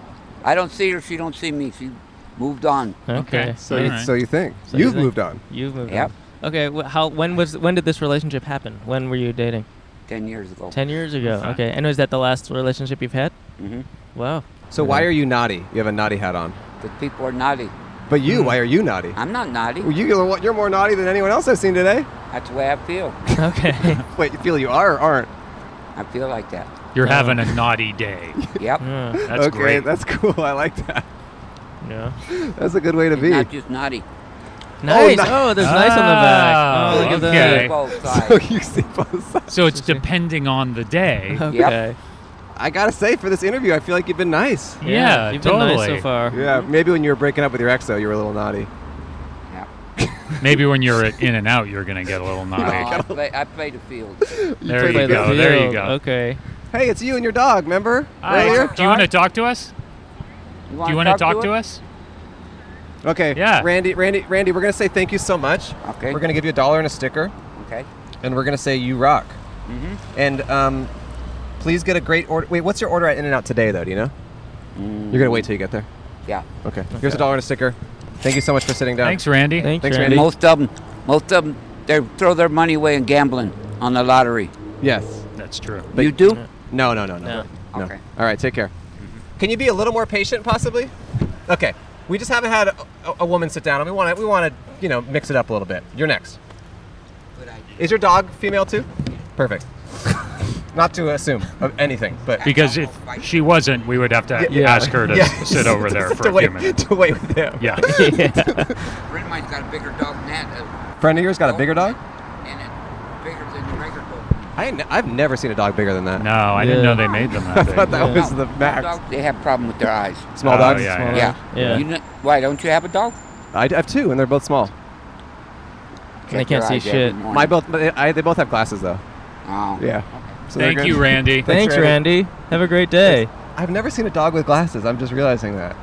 I: I don't see her. She don't see me. She moved on.
A: Okay.
D: Okay.
B: So,
D: All
B: you,
D: right.
B: so you think
A: So you
B: you've
A: think-
B: moved on?
A: You've moved
I: Yep.
A: on. Okay. Wh- how? When was? When did this relationship happen? When were you dating?
I: Ten years ago.
A: Ten years ago.
B: Uh-huh.
D: Okay.
A: Okay. And was that the last relationship you've had?
I: Mm-hmm.
A: Wow.
B: So why are you naughty? You have a naughty hat on.
I: Because people are naughty.
B: But
A: Hmm.
B: you, why are you naughty?
I: I'm not naughty.
B: Well, you, you're the one- you're more naughty than anyone else I've seen today.
I: That's the way I feel.
A: Okay.
B: Wait, you feel you are or aren't?
I: I feel like that.
D: You're
A: Yeah.
D: having a naughty day.
I: Yep.
A: yeah.
D: That's
B: okay,
D: great.
B: that's cool. I like that.
A: Yeah.
B: That's a good way to
I: It's
B: be.
I: Not just naughty.
A: Nice.
B: ni-
A: Oh, there's nice on the back.
D: Ah,
A: Oh, look at
D: okay.
A: that.
I: Both
B: So
I: sides.
B: you see both sides.
D: so it's depending on the day.
A: Okay.
I: Yep.
B: I gotta say, for this interview, I feel like you've been nice.
D: Yeah,
A: you've
D: totally.
A: been nice so far.
B: Yeah, maybe when you were breaking up with your ex, though, you were a little naughty.
I: Yep.
D: Maybe when you're at in and out, you're gonna get a little naughty.
I: I, play, I play the field.
B: play
D: there you
B: the
D: go. There you
B: field.
D: go.
A: Okay.
B: Hey, it's you and your dog, remember?
D: Hi,
B: Earlier?
D: do you want to talk to us? Do you want to talk to us?
B: Okay.
D: Yeah.
B: Randy, Randy, Randy, we're going to say thank you so much.
I: Okay.
B: We're going to give you a dollar and a sticker,
I: Okay. Mm-hmm.
B: and we're going to say you rock. And um, please get a great order. Wait, what's your order at In and Out today, though? Do you know? You're going to wait till you get there.
I: Yeah.
B: Okay. Here's a dollar and a sticker. Thank you so much for sitting down.
D: Thanks, Randy.
A: Thanks,
B: Thanks, Randy.
A: Randy.
I: Most of them, most of them, they throw their money away in gambling on the lottery.
B: Yes.
D: That's true.
B: But-
I: you do?
B: No, no, no, no.
A: No.
B: no.
I: Okay.
B: All right, take care. Can you be a little more patient, possibly? Okay. We just haven't had a, a, a woman sit down, and we want to, we want to, you know, mix it up a little bit. You're next. Is your dog female too? Perfect. Not to assume of anything, but
D: Because if she wasn't, we would have to
B: Yeah.
D: ask her to
B: Yeah.
D: s- sit over there
B: to
D: for a
B: wait,
D: few minutes.
B: To wait with him.
D: Yeah.
I: Red mine's got a bigger dog than that,
B: Friend of yours got a bigger dog?
I: and it's bigger than the regular dog.
B: I n- I've never seen a dog bigger than that.
D: No, I didn't
A: Yeah.
D: know they made them that
B: I thought
D: big.
B: that was the max.
I: Dog, they have problem with their eyes.
B: Small
D: Oh,
B: dogs.
D: yeah,
B: small
D: yeah.
I: Yeah.
A: Yeah.
I: You know, why don't you have a dog?
B: I d- have two, and they're both small.
A: They
I: Check
A: can't
I: your
A: see
I: eyes every
A: shit.
I: morning.
B: My both, but they, I, they both have glasses though.
I: Oh.
B: Yeah. So they're
D: Thank
B: good.
D: you, Randy.
A: Thanks, Randy. Have a great day.
B: I've never seen a dog with glasses. I'm just realizing that.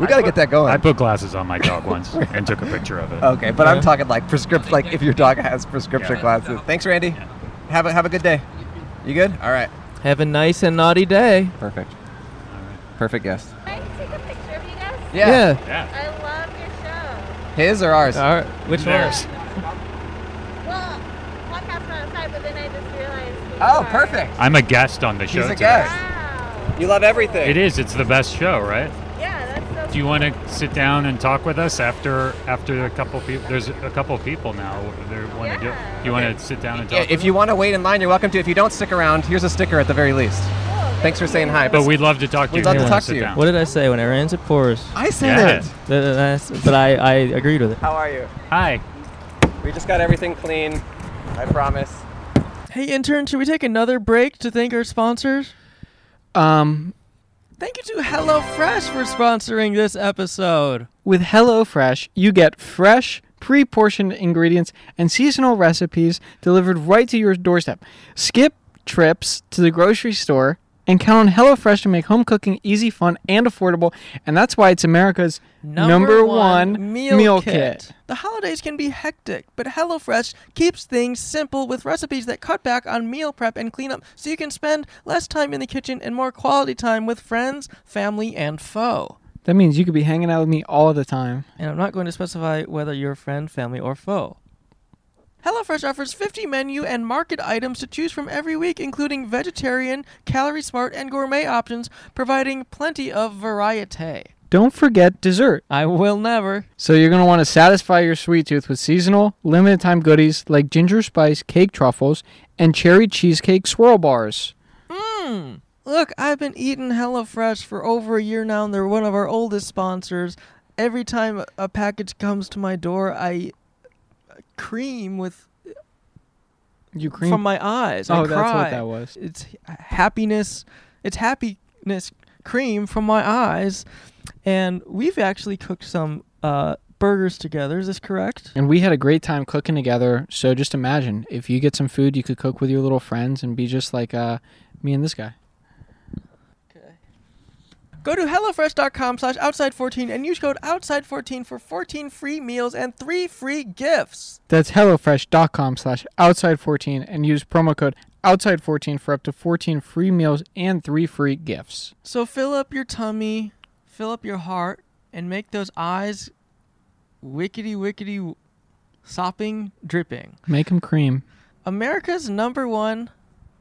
B: We gotta get that going.
D: I put glasses on my dog once and took a picture of it.
B: okay, but I'm talking like prescription. Like if your dog has prescription
D: Yeah.
B: glasses. Thanks, Randy. Have a have a good day. You good? All right.
A: Have a nice and naughty day.
B: Perfect. Perfect guest.
J: I can take a picture of you guys.
D: Yeah.
J: I love your show.
B: His or ours?
A: All right. Which
D: There's.
J: Well, one half from outside, but then I just realized. who you
B: Oh,
J: are.
B: perfect.
D: I'm a guest on the show
B: He's a
D: today.
B: guest.
J: Wow.
B: You love everything.
D: It is. It's the best show, right?
J: Yeah, that's so.
D: Do you want to sit down and talk with us after after a couple people? There's a couple people now. They want to
J: Yeah.
D: do. You want to sit down and talk?
B: Yeah,
D: with
B: if you want to wait in line, you're welcome to. If you don't stick around, here's a sticker at the very least.
J: cool.
B: Thanks for saying hi.
D: us? But we'd love to talk to
B: We'd
D: you.
B: love
D: if
B: to
D: wanna
B: talk
D: sit
B: to you.
D: down.
A: What did I say when I ran it for us?
B: I said
D: Yeah.
B: it.
A: Th- th- that's- But I, I agreed with it.
B: How are you?
D: Hi.
B: We just got everything clean. I promise.
A: Hey, intern, should we take another break to thank our sponsors?
H: Um,
A: Thank you to HelloFresh for sponsoring this episode.
H: With HelloFresh, you get fresh, pre portioned ingredients and seasonal recipes delivered right to your doorstep. Skip trips to the grocery store and count on HelloFresh to make home cooking easy, fun, and affordable. And that's why it's America's number, one, meal, kit.
A: The holidays can be hectic, but HelloFresh keeps things simple with recipes that cut back on meal prep and cleanup so you can spend less time in the kitchen and more quality time with friends, family, and foe.
H: That means you could be hanging out with me all the time.
A: and I'm not going to specify whether you're a friend, family, or foe. HelloFresh offers 50 menu and market items to choose from every week, including vegetarian, calorie smart, and gourmet options, providing plenty of variety.
H: Don't forget dessert.
A: I will never.
H: So you're going to want to satisfy your sweet tooth with seasonal, limited time goodies like ginger spice cake truffles and cherry cheesecake swirl bars. Mm.
A: Look, I've been eating HelloFresh for over a year now, and they're one of our oldest sponsors. Every time a package comes to my door, I cream with
H: You cream
A: from my eyes. I
H: Oh, that's what
A: cry.
H: that was.
A: It's h- happiness. It's happiness cream from my eyes, and we've actually cooked some uh, burgers together. Is this correct?
H: And we had a great time cooking together. So just imagine if you get some food, you could cook with your little friends and be just like uh, me and this guy.
A: Go to hellofresh.com/outside14 and use code outside14 for 14 free meals and three free gifts.
H: That's HelloFresh.com slash outside14 and use promo code outside14 for up to 14 free meals and three free gifts.
A: So fill up your tummy, fill up your heart, and make those eyes wickety wickety w- sopping dripping.
H: Make 'em cream.
A: America's number one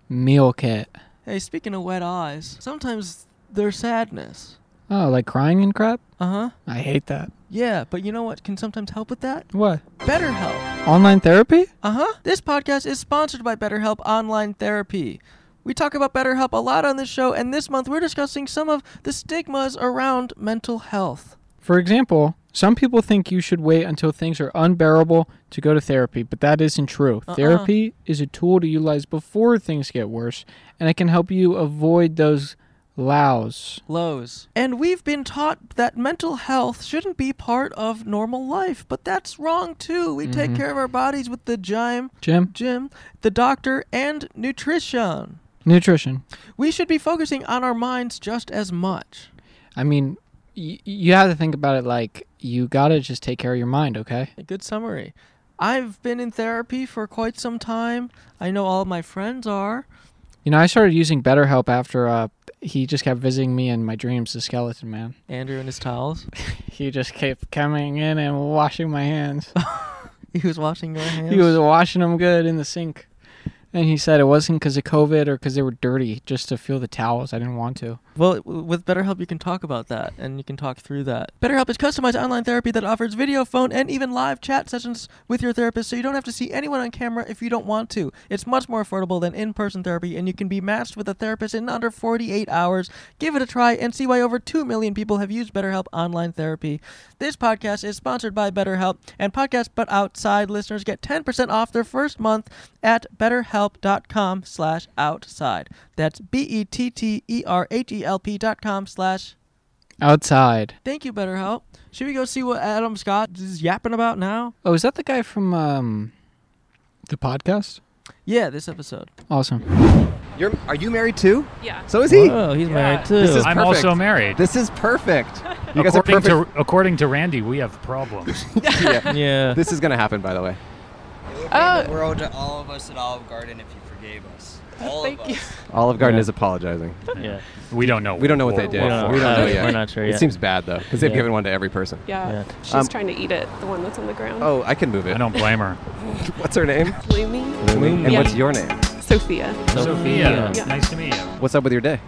H: Meal kit.
A: Hey, speaking of wet eyes, sometimes there's sadness.
H: Oh, like crying and crap?
A: Uh huh.
H: I hate that.
A: Yeah, but you know what can sometimes help with that?
H: What?
A: BetterHelp.
H: Online therapy?
A: Uh huh. This podcast is sponsored by BetterHelp Online Therapy. We talk about BetterHelp a lot on this show, and this month we're discussing some of the stigmas around mental health.
H: For example, some people think you should wait until things are unbearable to go to therapy, but that isn't true. Therapy is a tool to utilize before things get worse, and it can help you avoid those Laos.
A: Lows. And we've been taught that mental health shouldn't be part of normal life, but that's wrong too. We take care of our bodies with the gym,
H: Jim?
A: gym, the doctor, and nutrition.
H: Nutrition.
A: We should be focusing on our minds just as much.
H: I mean, y- you have to think about it like you gotta just take care of your mind, okay?
A: A good summary. I've been in therapy for quite some time. I know all my friends are.
H: You know, I started using BetterHelp after uh, he just kept visiting me in my dreams, the skeleton man.
A: Andrew and his towels.
H: He just kept coming in and washing my hands.
A: He was washing your hands.
H: he was washing them good in the sink. And he said it wasn't because of COVID or because they were dirty, just to feel the towels. I didn't want to.
A: Well, w- with BetterHelp, you can talk about that and you can talk through that. BetterHelp is customized online therapy that offers video, phone, and even live chat sessions with your therapist so you don't have to see anyone on camera if you don't want to. It's much more affordable than in person therapy, and you can be matched with a therapist in under 48 hours. Give it a try and see why over 2 million people have used BetterHelp online therapy. This podcast is sponsored by BetterHelp, and Podcast But Outside listeners get 10% off their first month at betterhelp.com slash outside. That's E B-E-T-T-E-R-H-E-L-P E dot com slash...
H: Outside.
A: Thank you, BetterHelp. Should we go see what Adam Scott is yapping about now?
H: Oh, is that the guy from um, the podcast?
A: Yeah, this episode.
H: Awesome.
B: You're, are you married too?
K: Yeah.
B: So is he.
A: Oh, he's married too.
B: This is
D: I'm
B: perfect.
D: also married.
B: This is perfect. You guys are
D: according,
B: perfect.
D: to, according to Randy, we have problems.
B: Yeah.
A: yeah.
B: This is gonna happen, by the way.
K: Oh.
E: We're owed to all of us at Olive Garden if you forgave us. All of
K: Thank you.
E: us.
B: Olive Garden is apologizing.
A: Yeah.
D: we don't know.
B: We don't know what they did.
A: We don't know.
B: We don't
A: Uh,
B: know yet.
A: we're not sure
B: It
A: yet.
B: seems bad though, because they've
A: Yeah.
B: given one to every person.
K: Yeah.
A: Yeah.
K: She's
B: Um,
K: trying to eat it, the one that's on the ground.
B: Oh, I can move it.
D: I don't blame her.
B: What's her name?
K: Lumi.
B: And
K: Yeah.
B: what's your name?
K: Sophia.
D: Sophia,
K: Yeah.
D: nice to meet you.
B: What's up with your day?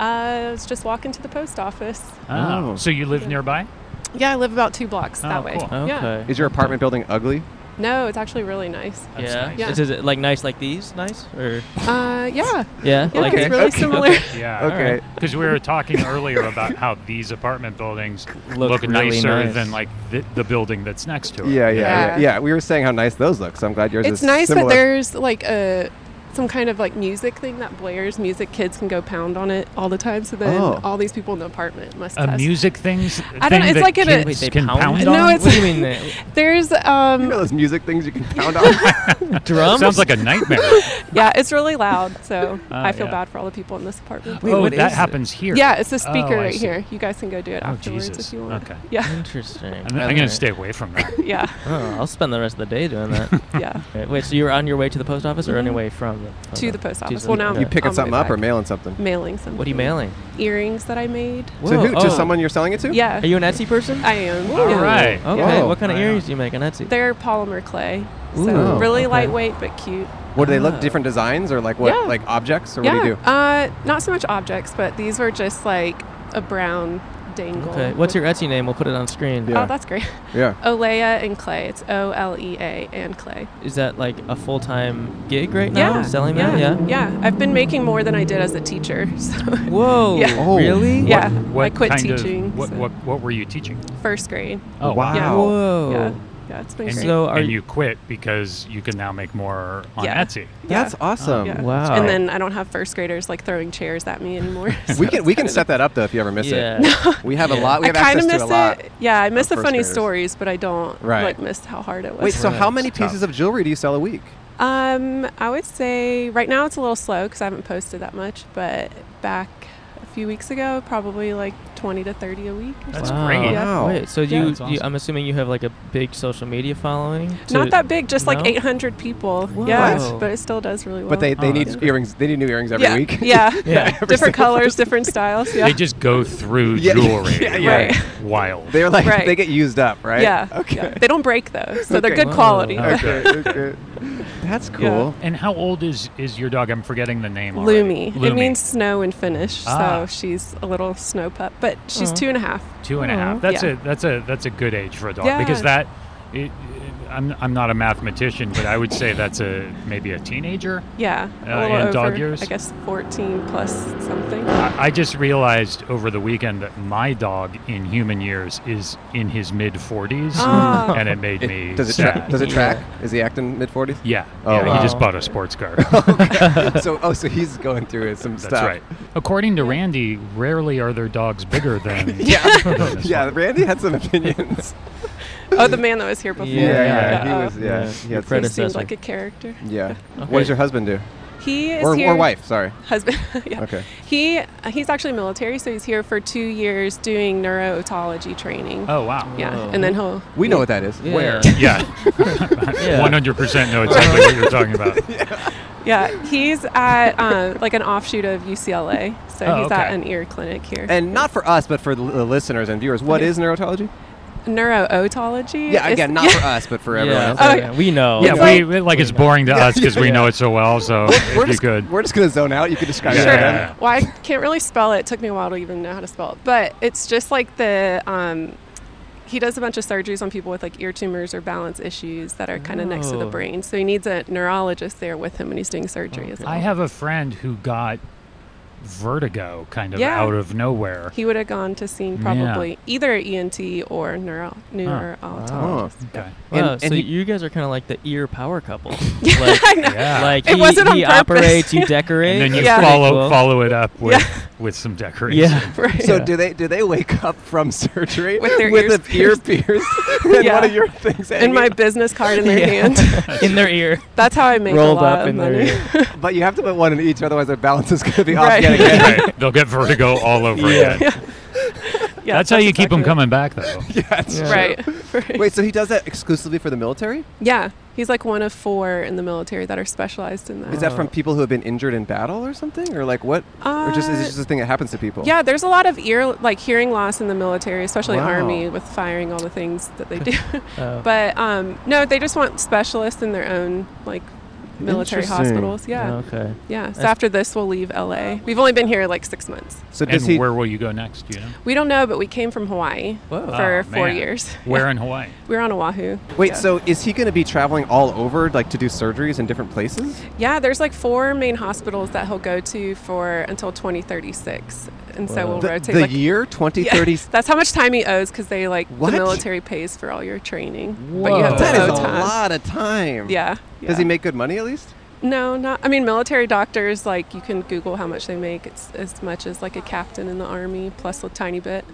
K: Uh, I was just walking to the post office.
D: Ah,
B: Oh.
D: So you live nearby?
K: Yeah, I live about two blocks that
D: Oh,
K: way.
D: cool.
K: Yeah.
A: Okay.
B: Is your apartment building ugly?
K: No, it's actually really nice.
D: That's
A: yeah.
D: nice.
K: Yeah.
A: Is, is it like nice like these? Nice or
K: Uh, yeah.
A: yeah?
K: Yeah,
A: like
K: it's really similar.
D: Yeah.
B: Okay.
D: Because we were talking earlier about how these apartment buildings
A: Look
D: look,
A: really
D: nicer
A: nice.
D: than like the, the building that's next to it.
B: Yeah, yeah, yeah,
K: Yeah.
B: yeah, We were saying how nice those look, so I'm glad yours
K: It's
B: is
K: nice
B: similar.
K: that there's like a some kind of like music thing that blares music. Kids can go pound on it all the time. So then
B: Oh.
K: all these people in the apartment must
D: A
K: test.
D: music things.
K: I don't know, it's like in a-
A: Wait, they
D: can
A: pound
D: pound
A: it?
D: on.
K: No, it's-
A: what do you mean? They,
K: There's
B: you know
K: um
B: those music things you can pound on.
A: drums?
D: Sounds like a nightmare.
K: yeah, it's really loud. So
D: Ah,
K: I feel
D: yeah.
K: bad for all the people in this apartment.
A: Wait,
D: oh,
A: what
D: that
A: is it?
D: happens here.
K: Yeah, it's the
D: Oh,
K: speaker
D: I
K: right
D: see.
K: here. You guys can go do it
D: Oh
K: afterwards
D: Jesus.
K: if you want.
D: Okay.
K: Yeah.
A: Interesting.
D: I'm, I'm gonna stay away from that.
K: Yeah.
A: Oh, I'll spend the rest of the day doing that.
K: Yeah. Mm-hmm.
A: Right, Wait, so you were on your way to the post office or on your way from the post
K: To the
A: office?
K: post office.
A: the-
K: Well, now
A: You
B: you
K: I'm
B: picking
K: on my
B: something up or
K: back.
B: mailing something?
K: mailing something.
A: What are you mailing?
K: Earrings that I made.
B: to
A: Whoa,
B: who? To
A: oh.
B: someone you're selling it to?
K: Yeah.
A: Are you an Etsy person?
K: I am.
D: All
K: yeah.
D: right.
A: Okay.
B: Whoa.
A: What kind of
D: I know.
A: earrings do you make on Etsy?
K: They're polymer clay. So
A: Ooh,
K: really
A: okay.
K: lightweight but cute.
B: What do they
A: Ah.
D: Oh.
B: look? Different designs or like what?
K: Yeah.
B: Like objects or
K: yeah.
B: what do you do?
K: Uh, not so much objects, but these were just like a brown dangle.
A: Okay. What's
K: with-
A: your Etsy name? We'll put it on screen.
B: Yeah.
K: Oh, that's great.
B: Yeah.
K: Olea and clay. It's O L E A and clay.
A: Is that like a full time gig right now?
K: yeah.
A: Selling
K: yeah.
A: that? Yeah.
K: Yeah. I've been making more than I did as a teacher. So
A: Whoa.
K: Yeah.
B: Oh.
A: Really?
K: Yeah.
D: What
K: I quit
D: kind
K: teaching.
D: Of, what,
K: so
D: what what were you teaching?
K: First grade.
D: Oh wow.
K: Yeah.
A: Whoa.
K: Yeah. Yeah. It's been
D: And,
K: great.
A: So
D: so
A: are
D: and
A: you-
D: you quit because you can now make more on
K: Yeah.
D: Etsy.
K: Yeah.
B: That's awesome.
K: Yeah.
A: Wow.
K: And then I don't have first graders like throwing chairs at me anymore.
B: We can we can set that up though if you ever miss
A: Yeah.
B: it. We have a
A: Yeah.
B: lot. We have
K: I kind
B: access
K: of miss
B: to a lot.
K: it. Yeah, I miss the
B: first
K: funny
B: graders.
K: stories, but I don't
B: Right.
K: like miss how hard it was.
B: Wait, so how
D: Right.
B: many
D: It's tough.
B: pieces of jewelry do you sell a week?
K: Um, I would say right now it's a little slow because I haven't posted that much, but back a few weeks ago, probably like 20 to 30 a week. Or
D: That's
K: something.
A: wow.
D: great.
K: Yeah.
B: Wow.
A: Wait, so
D: Yeah,
A: you,
D: that's
A: you,
D: awesome.
A: I'm assuming you have like a big social media following? to-
K: Not that big, just
A: No?
K: like 800 people.
A: Whoa.
K: Yeah,
A: What?
K: but it still does really well.
B: But they, they
A: Oh,
B: need
A: that's
B: earrings. They need new earrings every
K: yeah.
B: week.
K: Yeah,
A: Yeah.
K: different colors, different styles. Yeah,
D: They just go through
B: Yeah,
D: jewelry.
B: yeah,
K: yeah.
D: like Wild.
B: They're like
K: Right.
B: they get used up, right?
K: yeah.
B: Okay.
K: yeah. They don't break though, so they're
B: Okay.
K: good quality.
D: Oh,
A: Whoa.
B: Okay. okay. That's cool.
D: And how old is is your dog? I'm forgetting the name. already.
K: Lumi. It means snow in Finnish,
D: Ah.
K: so she's a little snow pup, but
B: Mm.
K: she's
D: Mm.
A: Aw.
K: two and a half.
D: two and a half.
K: Aw.
D: That's
K: Yeah.
D: a that's a that's a good age for a dog
K: Yeah.
D: because that. It, it- I'm, I'm not a mathematician, but I would say that's a maybe a teenager.
K: Yeah,
D: Uh,
K: a little
D: and
K: over,
D: dog years.
K: I guess 14 plus something.
D: I I just realized over the weekend that my dog in human years is in his mid 40s,
K: Ah.
D: and it made me
B: does it
D: sad.
B: track? Does it track? Is he acting mid forties?
D: Yeah. yeah, he just bought a sports car.
B: okay. So oh, so he's going through some
D: That's
B: stuff.
D: right. According to Randy, rarely are their dogs bigger than.
B: Yeah, yeah. Randy had some opinions.
K: Oh, the man that was here before.
B: Yeah, yeah, he
K: oh.
B: was- yeah, he had Your some-
K: He seemed
B: predecessor.
K: like a character.
B: Yeah. What does your husband do?
K: He is
B: or,
K: here.
B: or wife? Sorry.
K: Husband. yeah.
B: Okay.
K: He he's actually military, so he's here for two years doing neurootology training.
D: Oh wow.
K: Yeah, and then he'll.
B: We know what that is.
K: Yeah.
B: Where?
D: Yeah. 100% know exactly what you're talking about.
K: Yeah, he's at um, like an offshoot of UCLA, so
B: Oh,
K: he's at
B: okay.
K: an ear clinic here.
B: And not for us, but for the the listeners and viewers, what
K: Okay.
B: is neurotology?
K: neurootology.
B: Yeah,
K: is-
B: again, not for us, but for
D: Yeah. Uh,
B: everyone else.
K: Oh, yeah.
D: We know. Yeah,
K: It's
D: we, like it's boring to us because we know it so well. So
B: We're
D: if you
B: just,
D: could.
B: we're just gonna zone out. You could describe
D: Yeah.
B: it. again.
K: Well, I can't really spell it. It took me a while to even know how to spell it. But it's just like the um, he does a bunch of surgeries on people with like ear tumors or balance issues that are kind of next to the
D: Oh.
K: brain. So he needs a neurologist there with him when he's doing surgery as well.
D: I have a friend who got vertigo kind of
K: Yeah.
D: out of nowhere.
K: He would have gone to see
D: Yeah.
K: probably either ENT or neuro neurologist.
D: Okay.
A: Wow,
L: And-
A: so
L: and he-
A: you guys are kind of like the ear power couple. like,
D: Yeah.
A: like
D: It
A: he,
D: wasn't on
A: he
D: purpose.
A: operates, you
D: And
A: decorate,
D: then you
A: that's pretty
D: follow
A: cool.
D: follow it up with with some decoration.
B: So do they do they wake up from surgery
K: With their
B: with
K: ears
B: an ear pierced? and
K: Yeah.
B: one of your things
K: And my business card in their hand.
A: in their ear.
K: That's how I make
B: rolled
K: a lot
B: up
K: of
B: in
K: money.
B: their ear. but you have to put one in each, otherwise the balance is gonna be off
K: Right.
B: yet again.
D: Right. They'll get vertigo all over
B: Yeah.
D: again.
B: Yeah.
K: Yeah,
D: that's, how
K: that's
D: you keep them
K: exactly it.
D: coming back, though.
B: Yeah, that's
K: Yeah. Right,
B: true.
K: right.
B: Wait, so he does that exclusively for the military?
K: Yeah, he's like one of four in the military that are specialized in that.
B: Is that from people who have been injured in battle or something, or like what? or just is
K: Uh,
B: it just a thing that happens to people?
K: Yeah, there's a lot of ear like hearing loss in the military, especially
B: Wow.
K: army with firing all the things that they do.
B: Oh.
K: But um, no, they just want specialists in their own like military
B: Interesting.
K: hospitals. Yeah.
A: Okay.
K: Yeah. So
D: That's-
K: after this, we'll leave LA. We've only been here like six months.
B: So
D: and
B: does he-
D: where will you go next? do You know,
K: We don't know, but we came from Hawaii for
D: Oh,
K: four
D: man.
K: years.
D: Where in Hawaii?
K: We were on Oahu.
B: Wait,
K: Yeah.
B: so is he going to be traveling all over, like to do surgeries in different places?
K: Yeah, there's like four main hospitals that he'll go to for until 2036, and so we'll
B: the,
K: rotate.
B: the
K: like,
B: year
K: Yeah,
B: 2030.
K: that's how much time he owes because they like
B: What?
K: the military pays for all your training. But you
B: Whoa.
K: have to
B: That is
K: owe
B: a
K: time.
B: lot of time.
K: Yeah,
B: Does
K: yeah.
B: he make good money at least?
K: No, not. I mean, military doctors like you can Google how much they make. It's as much as like a captain in the army plus a tiny bit.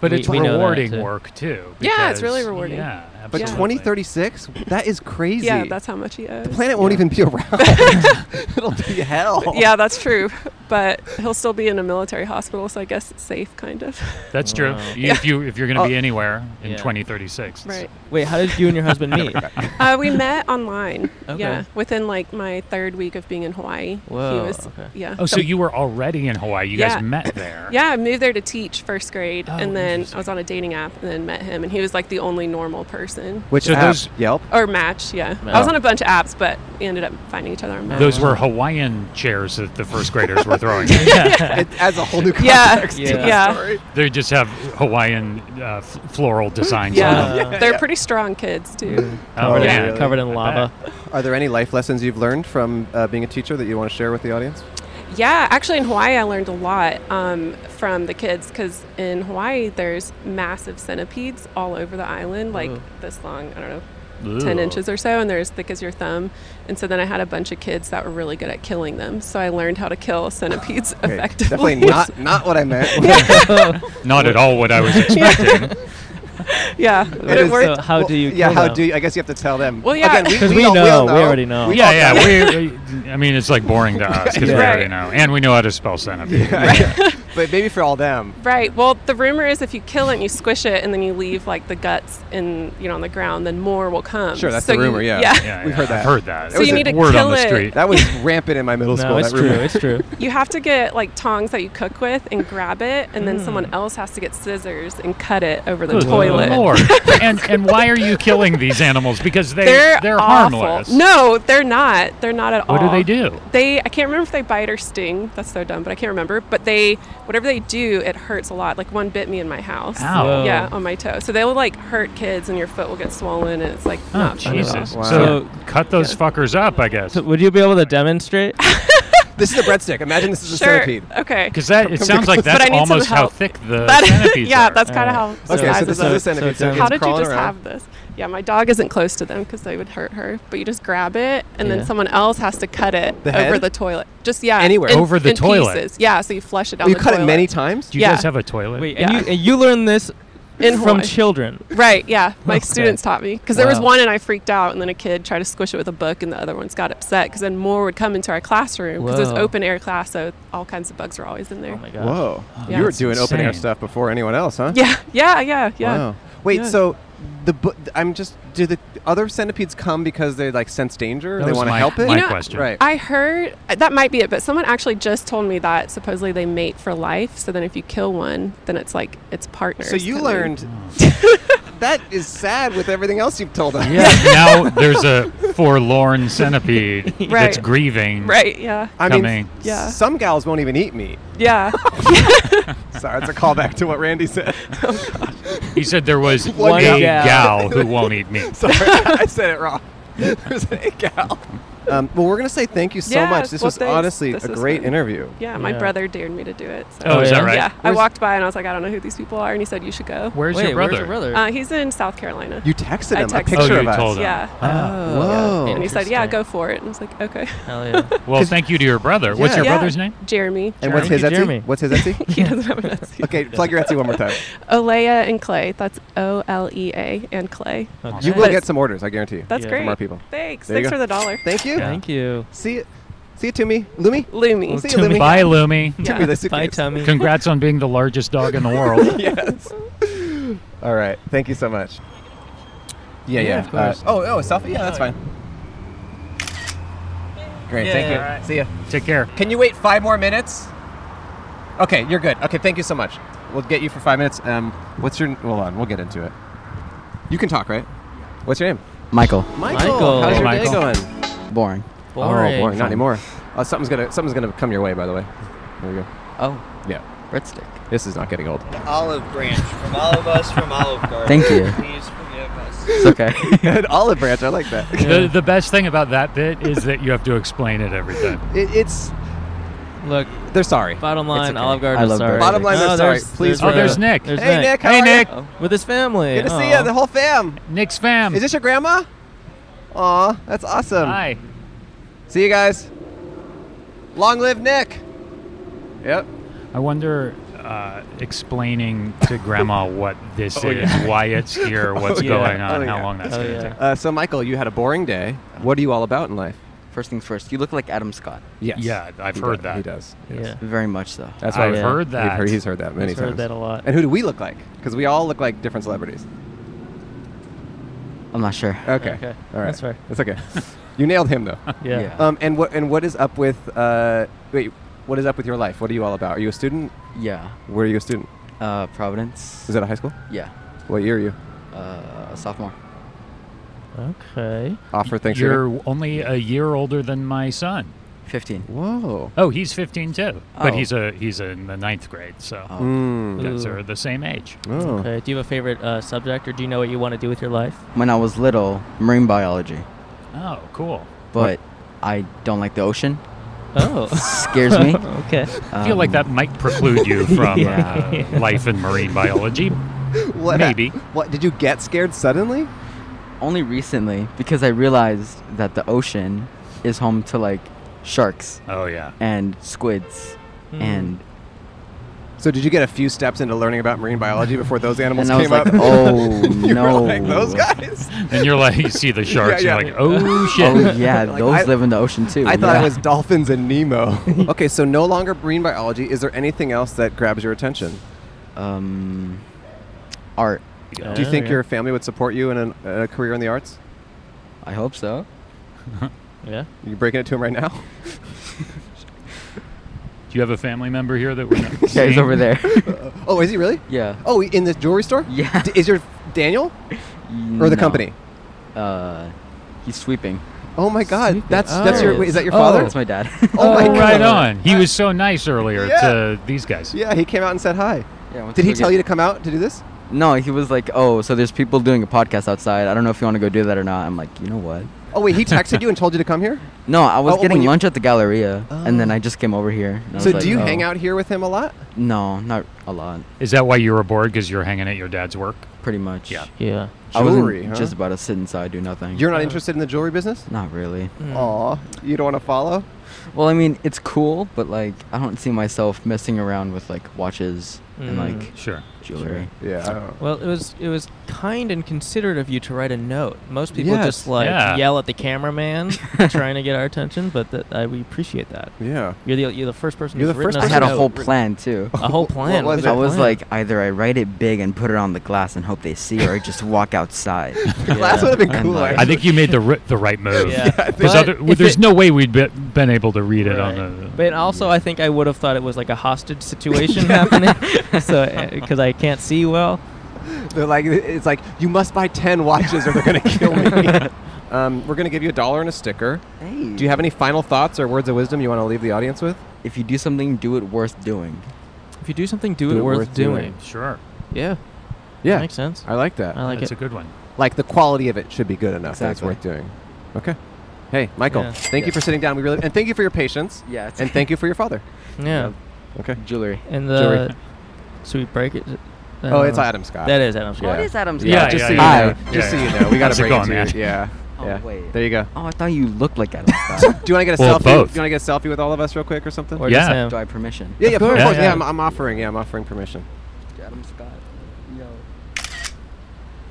D: But
B: We-
D: it's
B: we know that,
D: rewarding
B: too.
D: work too.
K: Yeah, it's
D: because-
K: really rewarding.
D: Yeah,
B: But
D: absolutely.
B: 2036, that is crazy.
K: Yeah, that's how much he owes.
B: the planet won't
K: Yeah.
B: even be around. It'll be hell.
K: yeah, that's true. But he'll still be in a military hospital, so I guess it's safe, kind of.
D: That's true. You-
K: Yeah.
D: If you if you're going to be
K: Oh.
D: anywhere in Oh,
A: Yeah.
D: 2036, it's-
K: Right.
A: Wait, how did you and your husband meet?
K: Uh, we met online.
D: Okay.
K: Yeah, within like my third week of being in Hawaii.
D: Whoa,
K: He was, Yeah.
D: Oh, so you were already in Hawaii. You
K: Yeah.
D: guys met there.
K: Yeah, I moved there to teach first grade,
D: Oh,
K: and then I was on a dating app, and then met him, and he was like the only normal person.
B: Which
D: So
B: app?
D: those- Oh.
B: Yelp?
K: or Match? Yeah, I was on a bunch of apps, but we ended up finding each other on Match.
D: Those were Hawaiian chairs that the first graders were throwing.
K: Yeah. It adds a whole new Yeah. context to the Yeah. story.
D: They just have Hawaiian uh, f- floral designs
K: Yeah,
D: on them.
K: they're pretty strong kids too.
D: Oh, yeah. Covered
A: in
D: lava.
B: Are there any life lessons you've learned from uh, being a teacher that you want to share with the audience?
K: Yeah, actually, in Hawaii, I learned a lot um, from the kids because in Hawaii, there's massive centipedes all over the island, like
L: Ooh.
K: this long, I don't know, 10
L: Ooh.
K: inches or so, and they're as thick as your thumb. And so then I had a bunch of kids that were really good at killing them. So I learned how to kill centipedes effectively.
B: Definitely not not what I meant.
D: Not at all what I was expecting.
K: yeah, but it worked.
A: how do you
B: Yeah,
A: kill
B: how
A: them?
B: do you? I guess you have to tell them.
K: Well, yeah.
B: Again, we,
A: 'Cause
B: we,
A: we
B: all
A: know,
B: will
A: we
B: know.
A: already know.
B: all
D: yeah, yeah. We, I mean, it's like boring to us because we
B: Right.
D: already know, and we know how to spell centipede.
B: but maybe for all them.
K: Right. Well, the rumor is if you kill it and you squish it and then you leave like the guts in, you know, on the ground, then more will come.
B: Sure, that's
K: So
B: the
K: you-
B: rumor. yeah.
K: Yeah.
B: we've heard that.
D: I've heard that.
K: So It was you a need to
B: word
K: word on
B: on
K: kill
B: the
K: the it.
B: street.
K: street.
B: That was rampant in my middle
A: No,
B: school.
A: it's
B: that
A: true,
B: rumor.
A: it's true.
K: You have to get like tongs that you cook with and grab it, and then someone else has to get scissors and cut it over the
D: Hmm. Good
K: toilet.
D: Lord. and and why are you killing these animals? Because they
K: They're,
D: they're,
K: awful.
D: harmless.
K: No, they're not. They're not at
D: What
K: all.
D: do they do?
K: They I can't remember if they bite or sting. That's so dumb, but I can't remember. But they whatever they do, it hurts a lot. Like one bit me in my house.
D: Ow. Whoa.
K: Yeah, on my toe. So they will like hurt kids, and your foot will get swollen, and it's like
D: Oh,
K: not fun at all.
D: Jesus.
B: Wow.
D: So cut those fuckers up, I guess.
A: would you be able to demonstrate?
B: This is a breadstick. Imagine this is a
K: Sure.
B: centipede.
K: Okay.
D: Because that it sounds like
K: But I
D: that's
K: need some
D: almost how
K: help.
D: thick the
K: That-
D: centipedes
K: yeah,
D: are.
K: that's kind of how.
B: so
K: the size
B: this
K: of
B: is a
K: those-
B: centipede, so it
K: how
B: goes
K: did you
B: crawling
K: just
B: around.
K: have this? Yeah, my dog isn't close to them because they would hurt her. But you just grab it, and
B: Yeah.
K: then someone else has to cut it
B: The
K: over
B: head?
K: the toilet. Just yeah,
B: Anywhere.
K: Uh, in-
D: Over the
K: in
D: toilet.
K: Pieces. Yeah, so you flush it down.
B: You
K: the
B: cut it
K: toilet.
B: many times?
D: Do you
K: yeah.
D: guys have a toilet?
A: Wait,
K: Yeah.
A: and you and you learned this
K: In
A: from
K: Hawaii.
A: children.
K: Right, yeah. My
A: Okay.
K: students taught me because there was
A: Wow.
K: one and I freaked out, and then a kid tried to squish it with a book, and the other ones got upset because then more would come into our classroom because it was
A: Whoa.
K: open air class, so all kinds of bugs were always in there.
A: Oh my gosh.
B: Whoa.
K: Yeah.
B: you were
K: That's
B: doing open air
D: insane.
B: stuff before anyone else, huh?
K: Yeah, yeah, yeah, yeah.
B: Wow. Wait,
K: Yeah.
B: so the bu- I'm just do the other centipedes come because they like sense danger?
D: That
B: they
D: was
B: want to
D: my-
B: help it?
D: my
K: You know,
D: question.
B: Right.
K: I heard uh, that might be it, but someone actually just told me that supposedly they mate for life. So then if you kill one, then it's like it's partners.
B: so you
K: kinda.
B: learned that is sad with everything else you've told us.
D: now there's a forlorn centipede that's
K: Right.
D: grieving.
K: Right, yeah.
B: I mean,
D: Coming.
K: Yeah.
B: some gals won't even eat meat.
K: Yeah.
B: Sorry, it's a callback to what Randy said.
D: He said there was
B: One
D: a
A: gal.
D: gal who won't eat meat.
B: Sorry, I said it wrong. There's a gal. Um, well, we're gonna say thank you so
K: Yeah,
B: much. This
K: well,
B: was
K: thanks.
B: honestly
K: This
B: a
K: was
B: great
K: fun.
B: interview.
K: yeah, my
A: Yeah.
K: brother dared me to do it. So.
D: Oh, is
A: yeah?
D: that right?
K: Yeah, I
A: Where's-
K: walked by and I was like, I don't know who these people are. And he said, You should go.
D: Where's
A: Wait,
D: your brother?
A: Where's your brother?
K: Uh, he's in South Carolina.
B: You texted
K: I
B: him a
K: texted
B: picture
D: oh,
B: of
D: you
B: us. Oh,
D: told him.
K: yeah.
B: Whoa.
K: And he said, Yeah,
A: Interesting.
K: go for it. And I was like, Okay.
A: Hell yeah.
D: Well, thank you to your brother. What's your
K: Yeah.
D: brother's name?
K: Jeremy.
B: And what's his
A: Jeremy.
B: Etsy?
A: Jeremy.
B: What's his Etsy?
K: He doesn't have an Etsy.
B: okay, plug your Etsy one more time.
K: Olea and Clay. That's O L E A and Clay.
B: You
K: But
B: will
K: it's-
B: get some orders, I guarantee you.
K: That's
A: Yeah.
K: great.
B: From our people.
K: Thanks.
B: There you
K: Thanks
B: go.
K: for the dollar.
B: Thank you.
A: Thank you.
B: See you. See you, Toomey. Lumi.
K: Loomy.
B: See you, Lumi.
D: Bye, Lumi.
B: Give me the
A: Bye,
B: suitcase.
A: Tommy.
D: Congrats on being the largest dog in the world.
B: yes. All right. Thank you so much. Yeah, yeah.
A: of course.
B: Uh, oh, oh, a selfie. Yeah, that's fine. Great. Thank you.
A: Yeah.
B: See ya.
D: Take care.
B: Can you wait five more minutes? Okay, you're good. Okay, thank you so much. We'll get you for five minutes. Um, what's your? Hold on, we'll get into it. You can talk, right? What's your name?
E: Michael,
B: Michael.
A: Michael.
B: How's your day
D: Michael.
B: going?
E: boring.
B: Oh, boring. Not anymore. Uh, something's gonna something's gonna come your way, by the way. There we go.
E: Oh,
B: Yeah,
E: breadstick.
B: this is not getting old.
E: Olive branch from all of us from Olive Garden.
I: Thank you.
E: Please forgive us.
I: It's okay.
B: An olive branch. I like that.
D: The, the best thing about that bit is that you have to explain it every time.
B: It, it's
A: Look,
B: they're sorry.
A: bottom line,
B: okay.
A: Olive Garden.
I: I
A: is
I: love
A: sorry.
I: Burger
B: Bottom King. line, they're
A: there's-
B: sorry. Please
D: Oh, there's
A: uh,
D: Nick.
A: There's Oh.
B: hey Nick. How
D: Hey,
B: are ya?
D: Nick.
A: with his family.
B: Good to see
A: Aw.
B: you. The whole fam.
D: Nick's fam.
B: Is this your grandma? Aw, that's awesome.
D: Hi.
B: See you guys. Long live Nick. Yep.
D: I wonder, uh, explaining to Grandma what this
B: Oh,
D: is, why it's here, what's
B: yeah.
D: going on,
B: Oh,
D: how
B: yeah.
D: long that's
A: Oh,
D: going to
A: yeah.
D: take.
B: Uh, so, Michael, you had a boring day. What are you all about in life?
E: First things first, you look like Adam Scott.
B: Yes.
D: Yeah, I've
B: He
D: heard
B: does-
D: that.
B: He does. Yes.
A: Yeah.
E: Very much so.
B: That's why
D: I've
B: we've-
D: heard
B: we've
D: that.
B: heard- he's heard that many
A: He's
B: times.
A: heard that a lot.
B: And who do we look like? Because we all look like different celebrities.
E: I'm not sure.
B: Okay.
A: Okay.
B: All right.
A: That's fair.
B: That's okay. you nailed him though.
A: Yeah.
E: Yeah.
B: Um, and what and what is up with uh, wait, what is up with your life? What are you all about? Are you a student?
E: Yeah.
B: Where are you a student?
E: Uh, Providence.
B: Is that a high school?
E: Yeah.
B: What year are you?
E: Uh, sophomore.
A: Okay.
B: Off for Thanksgiving.
D: You're only a year older than my son.
E: 15.
B: Whoa.
D: Oh, he's 15 too, but
E: Oh.
D: he's a he's in the ninth grade, so
E: Oh.
B: Mm.
D: you guys
A: Ooh.
D: are the same age.
B: Oh.
A: Okay. Do you have a favorite uh, subject, or do you know what you want to do with your life?
E: When I was little, marine biology.
D: Oh, cool.
E: But I don't like the ocean.
A: Oh.
E: Scares me.
A: okay.
D: I feel like
E: Um,
D: that might preclude you from
E: Yeah.
D: uh, life in marine biology.
B: What,
D: Maybe.
B: What did you get scared suddenly?
E: Only recently, because I realized that the ocean is home to like sharks
D: Oh yeah.
E: and squids
A: Hmm.
E: and
B: So did you get a few steps into learning about marine biology before those animals
E: And I was
B: came up?
E: like, "Oh,
B: you
E: no."
B: Were like, Those guys.
D: And you're like, you see the sharks,
B: Yeah,
D: you're
B: yeah.
D: like, oh shit.
E: Oh yeah,
B: Like,
E: those
B: I-
E: live in the ocean too.
B: I thought
E: yeah.
B: it was dolphins and Nemo. okay, so no longer marine biology. Is there anything else that grabs your attention?
E: um art.
B: Do you
A: Oh,
B: think
A: yeah.
B: your family would support you in an, a career in the arts?
E: I hope so.
A: Yeah.
B: You breaking it to him right now?
D: Do you have a family member here that we're not
E: Yeah, he's
D: seeing?
E: over there.
B: Oh, is he really?
E: yeah.
B: Oh, in the jewelry store?
E: Yeah.
B: D- is your Daniel or the
E: No.
B: company?
E: Uh, he's sweeping.
G: Oh my God, that's
B: that's your- wait, is that your father?
E: That's my dad.
B: Oh my God.
D: Oh. Right on. He was so nice earlier
B: Yeah.
D: to these guys.
B: Yeah, he came out and said hi.
E: Yeah, once
B: Did
E: we
B: he
E: get-
B: tell you to come out to do this?
E: No, he was like, "Oh, so there's people doing a podcast outside. I don't know if you want to go do that or not." I'm like, "You know what?"
B: Oh wait, he texted you and told you to come here.
E: No, I was
B: Oh,
E: getting
B: when you- Oh.
E: lunch at the Galleria, and then I just came over here. and I
B: So
E: was
B: do you
E: like,
B: hang
E: "Oh."
B: out here with him a lot?
E: No, not a lot,
D: Is that why you were bored? Because you're hanging at your dad's work?
E: pretty much.
D: Yeah.
A: Yeah.
E: I wasn't
B: Jewelry, huh?
E: just about to sit inside do nothing.
B: You're not interested in the jewelry business?
E: not really.
B: Aw, you don't want to follow?
E: Well, I mean, it's cool, but like, I don't see myself messing around with like watches and
A: Mm.
E: like
D: Sure.
E: jewelry.
B: Yeah. I don't-
A: Well, it was it was kind and considerate of you to write a note. Most people
B: Yes.
A: just like
D: Yeah.
A: yell at the cameraman trying to get our attention, but that I we appreciate that.
B: Yeah.
A: You're the you're the first person.
B: You're
A: who's
B: the
A: written
B: first
A: us
E: I had a
A: note.
E: whole plan too.
A: a whole
B: was
A: plan. What was
B: it?
E: I
A: your
E: was
A: plan?
E: like, either I write it big and put it on the glass and hope they see, or I just walk outside.
B: Glass would've been
E: And,
B: cooler,
E: like-
D: I think you made the ri- the right move.
A: Yeah. Yeah, I
D: There's,
A: think-
D: other,
A: But if
D: there's
A: it-
D: no way we'd be, been able to read it on
A: Right.
D: a.
A: But also, I think I would have thought it was like a hostage situation happening, so because I can't see well.
B: They're like, it's like you must buy ten watches or they're gonna kill me. um, we're gonna give you a dollar and a sticker.
E: Hey.
B: Do you have any final thoughts or words of wisdom you want to leave the audience with?
E: If you do something, do it worth doing.
A: If you do something, do, it, worth, doing.
D: sure.
A: Yeah,
B: Yeah,
A: makes sense.
B: I like that.
A: I like
D: That's
A: it.
D: a good one.
B: like the quality of it should be good enough
E: Exactly.
B: that it's worth doing. Okay. Hey, Michael,
A: Yeah.
B: thank you for sitting down. We really and thank you for your patience.
E: Yeah, it's-
B: And thank you for your father.
A: yeah,
B: Okay.
E: Jewelry.
A: and
B: Jewelry.
A: the so we break it. Uh,
B: Oh, it's Adam Scott.
A: That is Adam
E: Oh,
A: Scott.
E: it is Adam's
B: Yeah,
E: guy.
B: just
D: yeah,
B: so you
D: yeah,
B: know.
D: yeah.
B: Just so
D: Yeah,
B: you
D: yeah.
B: know, we got
D: How's
B: to
D: it
B: break
D: going,
B: it to you.
D: man?
B: Yeah.
E: Oh,
B: yeah.
E: wait.
B: There you go.
E: Oh, I thought you looked like Adam Scott.
B: Do you want to get a
D: Well,
B: selfie?
D: both.
B: Do you want to get a selfie with all of us real quick or something?
A: Or
D: Yeah.
A: just him.
E: do I have permission?
B: yeah, yeah, of course.
D: course.
B: Yeah,
D: Yeah, yeah.
B: I'm, I'm offering. Yeah, I'm offering permission.
E: Adam Scott. Yo.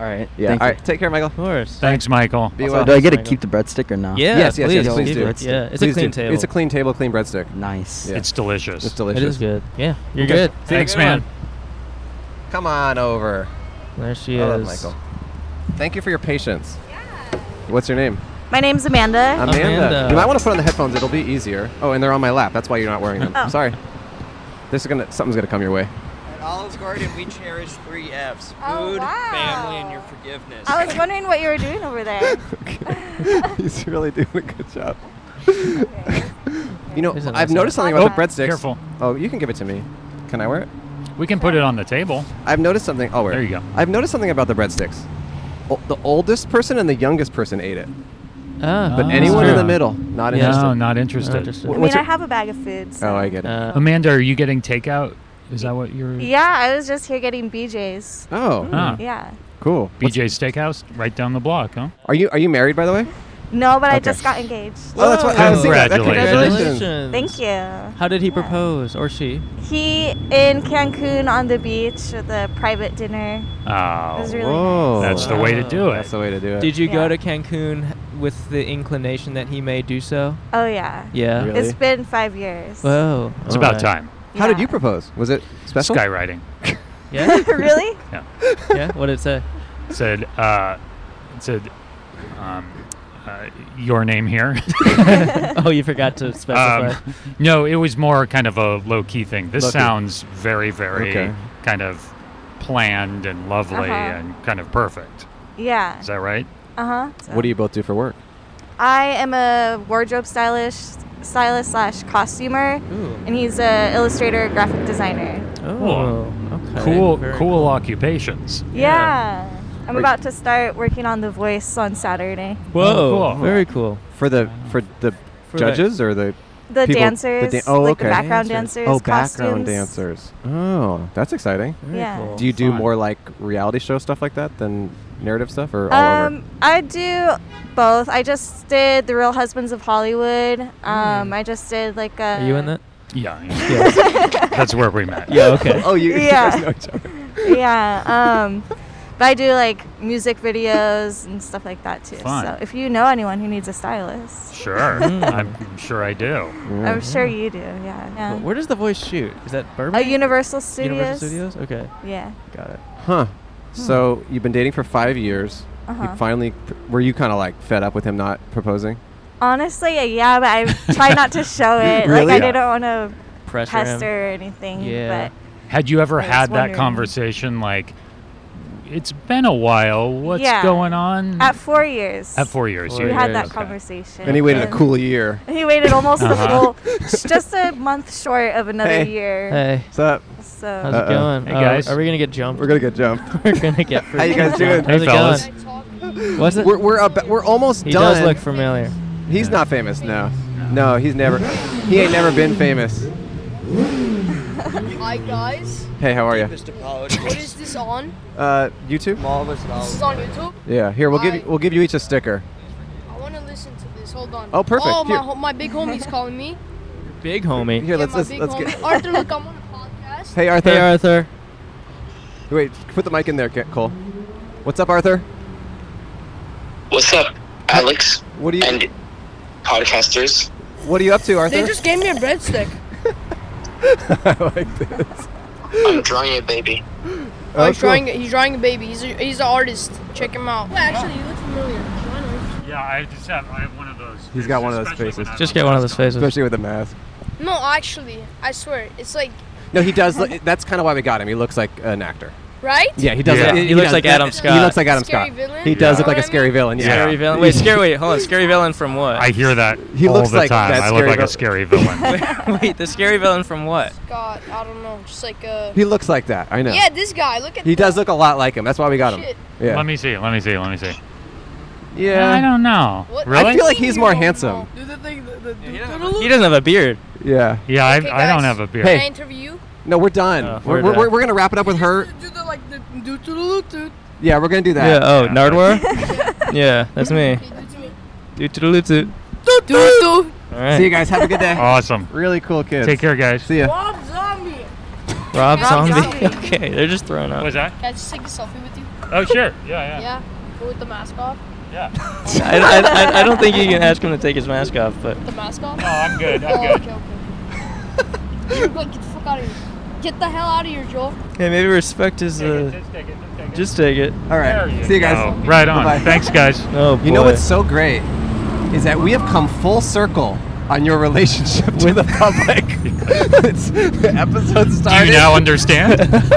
E: All right. Yeah.
B: all right. Take care, Michael.
A: Of course.
D: Thanks, Michael.
B: Be
E: So
B: well.
E: do I get to
A: Michael.
E: keep the breadstick or no?
A: Yeah,
B: yes, yes,
A: please,
B: yes, please
A: keep
B: do.
A: it. Yeah, it's
B: Please
A: a clean
B: do.
A: table.
B: It's a clean table, clean breadstick.
E: Nice.
B: Yeah.
D: It's delicious.
B: It's
A: It
B: delicious.
A: is good. Yeah, you're
B: Okay.
A: good.
D: Thanks, man.
B: Come on over.
A: There she
B: I
A: is.
B: love Michael. Thank you for your patience. Yeah. What's your name?
J: My name's Amanda.
B: Amanda.
A: Amanda.
B: You might want to put on the headphones. It'll be easier. Oh, and they're on my lap. That's why you're not wearing them.
J: Oh.
B: Sorry. This is gonna. Something's gonna come your way.
L: At Olive Garden, we cherish three F's: food,
J: Oh, wow.
L: family, and your forgiveness.
J: I was wondering what you were doing over there.
B: He's really doing a good job. you know,
A: Isn't that
B: I've noticed something
J: Oh,
B: about the breadsticks.
D: careful.
B: Oh, you can give it to me. Can I wear it?
D: We can put it on the table.
B: I've noticed something. I'll wear
D: There
B: it.
D: you go.
B: I've noticed something about the breadsticks. O- the oldest person and the youngest person ate it,
A: Ah,
B: but
D: Ah.
B: anyone in
D: true.
B: the middle, not
A: Yeah.
B: interested.
D: No, not interested.
A: Not interested.
J: I
B: What's
J: mean,
B: your-
J: I have a bag of food. So.
B: Oh, I get it.
A: Uh,
D: Amanda, are you getting takeout? Is that what you're.
J: Yeah, I was just here getting BJ's.
B: oh,
D: Ah,
J: Yeah.
B: cool.
D: BJ's Steakhouse, right down the block, huh?
B: Are you are you married, by the way?
J: No, but I
B: Okay.
J: just got engaged.
B: Oh, that's what I was thinking. That-
D: Congratulations.
J: Thank you.
A: How did he
J: Yeah.
A: propose or she?
J: He in Cancun on the beach with a private dinner. It was
D: Oh,
J: really
B: Whoa.
D: that's the way to do it.
B: That's the way to do it.
A: Did you go
J: Yeah.
A: to Cancun with the inclination that he may do so?
J: nice. Oh yeah.
A: Yeah.
B: Really?
J: It's been five years.
A: Whoa.
D: It's about
A: Alright.
D: time.
B: How did
J: Yeah.
B: you propose? Was it special?
D: Skywriting.
A: Yeah.
J: really?
D: Yeah.
A: yeah. What did it say?
D: Said, uh, said, um, uh, your name here.
A: Oh, you forgot to specify.
D: Um, no, it was more kind of a low key thing. This
B: Low-key.
D: sounds very, very
B: Okay.
D: kind of planned and lovely
J: Uh-huh.
D: and kind of perfect.
J: Yeah.
D: Is that right?
J: Uh huh.
B: What do you both do for work?
J: I am a wardrobe stylist, stylist slash costumer,
A: Ooh.
J: and he's a illustrator, graphic designer.
A: Oh. Okay.
D: cool,
A: Very
D: cool, occupations.
J: Yeah. I'm
B: Are-
J: about to start working on The Voice on Saturday.
A: Whoa.
D: Cool.
A: Very Oh, cool.
B: For the for the
A: For
B: judges or the
J: The
B: people- the
J: dancers,
B: dan- oh,
J: like
B: okay.
J: the background
A: Dancers.
J: dancers,
B: oh
J: costumes.
B: background dancers? Oh, that's exciting.
A: Very
J: Yeah.
A: cool.
B: Do you do
D: Fun.
B: more like reality show stuff like that than narrative stuff or all over?
J: Um, I do both. I just did The Real Husbands of Hollywood. Um, I just did like a.
A: Are you in that?
D: Yeah.
A: Yeah.
D: That's where we met.
A: yeah. Okay.
B: Oh, you, you
J: yeah.
B: guys know each other.
J: yeah. Um, but I do like music videos and stuff like that too.
D: Fun.
J: So if you know anyone who needs a stylist,
D: Sure.
A: Mm.
D: I'm sure I do.
J: I'm
C: Mm-hmm.
J: sure
A: Mm-hmm.
J: you do. Yeah. yeah.
A: Where does the voice shoot? Is that
J: Uh,
A: Burbank?
J: Universal Studios.
A: Universal Studios. Okay.
J: Yeah.
A: Got it.
B: Huh. So you've been dating for five years. You
J: Hmm. Uh-huh.
B: finally pr- were you kind of like fed up with him not proposing?
J: Honestly, uh, yeah, but I try not to show it.
B: Really?
J: Like I didn't want to
A: Pressure. him.
J: pester or anything.
A: Yeah.
J: But
D: Had you ever
J: I was
D: had that
J: wondering.
D: conversation like it's been a while. What's
J: Yeah.
D: going on?
J: At four years.
D: At four years,
J: we
D: you-
J: had that
D: Okay.
J: conversation.
B: And he waited a
J: And
B: cool year.
J: He waited almost
B: Uh-huh.
J: a full, just a month short of another year.
B: Hey. What's up?
J: So
B: Uh-oh.
M: How's it going?
B: Hey,
M: Uh,
B: guys.
M: are we gonna get jumped?
B: We're gonna get jumped.
M: We're gonna get.
B: How you guys
M: freaking
B: doing?
M: jumped. How's it going? What's it?
B: We're we're, ab- we're almost
M: He
B: done.
M: does look familiar.
B: He's not famous, no. No, he's never. He ain't never been famous.
N: Hi guys.
B: Hey, how are you?
N: What is this on?
B: Uh, YouTube.
N: This is on YouTube.
B: Yeah, here we'll give you, we'll give you each a sticker.
N: I want to listen to this. Hold on.
B: Oh, perfect.
N: Oh, my,
B: Here.
N: ho- my big homie's calling me.
B: Big homie. Here,
N: Yeah,
B: let's
N: my
B: let's,
N: big
B: let's
N: homie.
B: get.
N: Arthur, look, I'm on a podcast.
B: Hey, Arthur.
N: Hey,
B: Arthur. Wait, put the mic in there, Ca- Cole. What's up, Arthur?
H: What's up, Alex?
B: What do you
H: and podcasters?
B: What are you up to, Arthur?
N: They just gave me a breadstick.
B: I like this.
H: I'm drawing a baby.
B: Oh,
N: he's,
B: cool.
N: drawing, he's drawing a baby. He's a, he's an artist. Check him out. actually, you look familiar.
D: Yeah, I just have I have one of those.
B: He's got one of those faces.
M: Just get one of those faces.
B: Especially with a mask.
N: No, actually, I swear, it's like
B: No, he does. Look, that's kind of why we got him. He looks like an actor.
N: right.
B: Yeah, he does.
M: Yeah.
B: Look,
M: He looks
B: does-
M: like Adam
B: He
M: Scott.
B: looks like Adam
N: Scary
B: Scott.
N: villain?
B: He does
N: Yeah.
B: look like a scary villain. Yeah.
D: Scary
C: villain. Wait, scary. Wait, hold on. Scary villain from what?
D: I hear that
B: He
D: all
B: looks
D: the
B: like
D: time.
B: that
D: I
B: scary
D: look like
B: vil-
D: a scary villain.
C: Wait, the scary villain from what?
N: God, I don't know. Just like uh.
B: He looks like that. I know.
N: Yeah, this guy. Look at.
B: He does look a lot like him. That's why we got him.
N: Shit.
B: Yeah.
D: Let me see. Let me see. Let me see.
B: Yeah.
D: I don't know.
N: What-
D: Really?
B: I feel like he's more handsome.
N: Do the thing. The, the,
D: He doesn't have a beard.
B: Yeah.
D: Yeah, I, I don't
N: guys.
D: have a beard.
N: Can I interview you?
B: No, we're done. we're,
D: we're
B: we're,
D: done.
B: we're, gonna wrap it up with her.
N: Do the like the do do do.
B: Yeah, we're gonna do that.
C: Yeah. Oh, Nardwar. yeah, that's me. Do to the toot.
N: Do do.
C: All right.
B: See you guys. Have a good day.
D: Awesome.
B: Really cool kids.
D: Take care, guys.
B: See ya.
N: Rob Zombie. Rob
C: Rob Zombie.
N: Zombie.
C: okay, they're just throwing up.
D: Was that?
N: Can I just take a selfie with you?
D: Oh sure. Yeah, yeah.
N: Yeah. With the mask off.
D: Yeah.
C: I, I, I, I don't think you can ask him to take his mask off, but
N: The mask off.
D: No, I'm good, I'm
N: oh,
D: good.
N: Okay, okay. You're good. Get the fuck out of here. Get the hell out of here, Joel.
C: hey, maybe respect his. Uh, just take it.
B: All
D: There
B: right.
D: you
B: See you guys.
D: go. Oh, Right on.
B: Bye-bye.
D: Thanks, guys.
C: Oh,
B: You know
D: boy.
B: what's so great is that we have come full circle on your relationship to the public. it's, the episode started.
D: Do you now understand?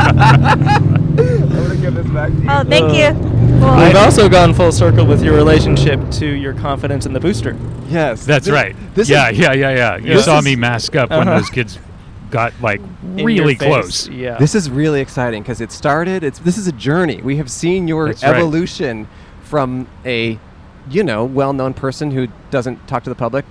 B: I'm gonna give this back to you.
J: Oh, thank
H: Uh,
J: you. Cool.
C: We've also gone full circle with your relationship to your confidence in the booster.
B: Yes.
D: That's
C: This-
D: right.
C: this
D: yeah,
C: is-
D: yeah, yeah, yeah. You
C: This
D: saw
C: is-
D: me mask up when
C: Uh-huh.
D: those kids got like
C: your
D: really
C: face,
D: close.
C: yeah.
B: This is really exciting because it started. It's this is a journey. We have seen your
D: That's right.
B: evolution from a, you know, well-known person who doesn't talk to the public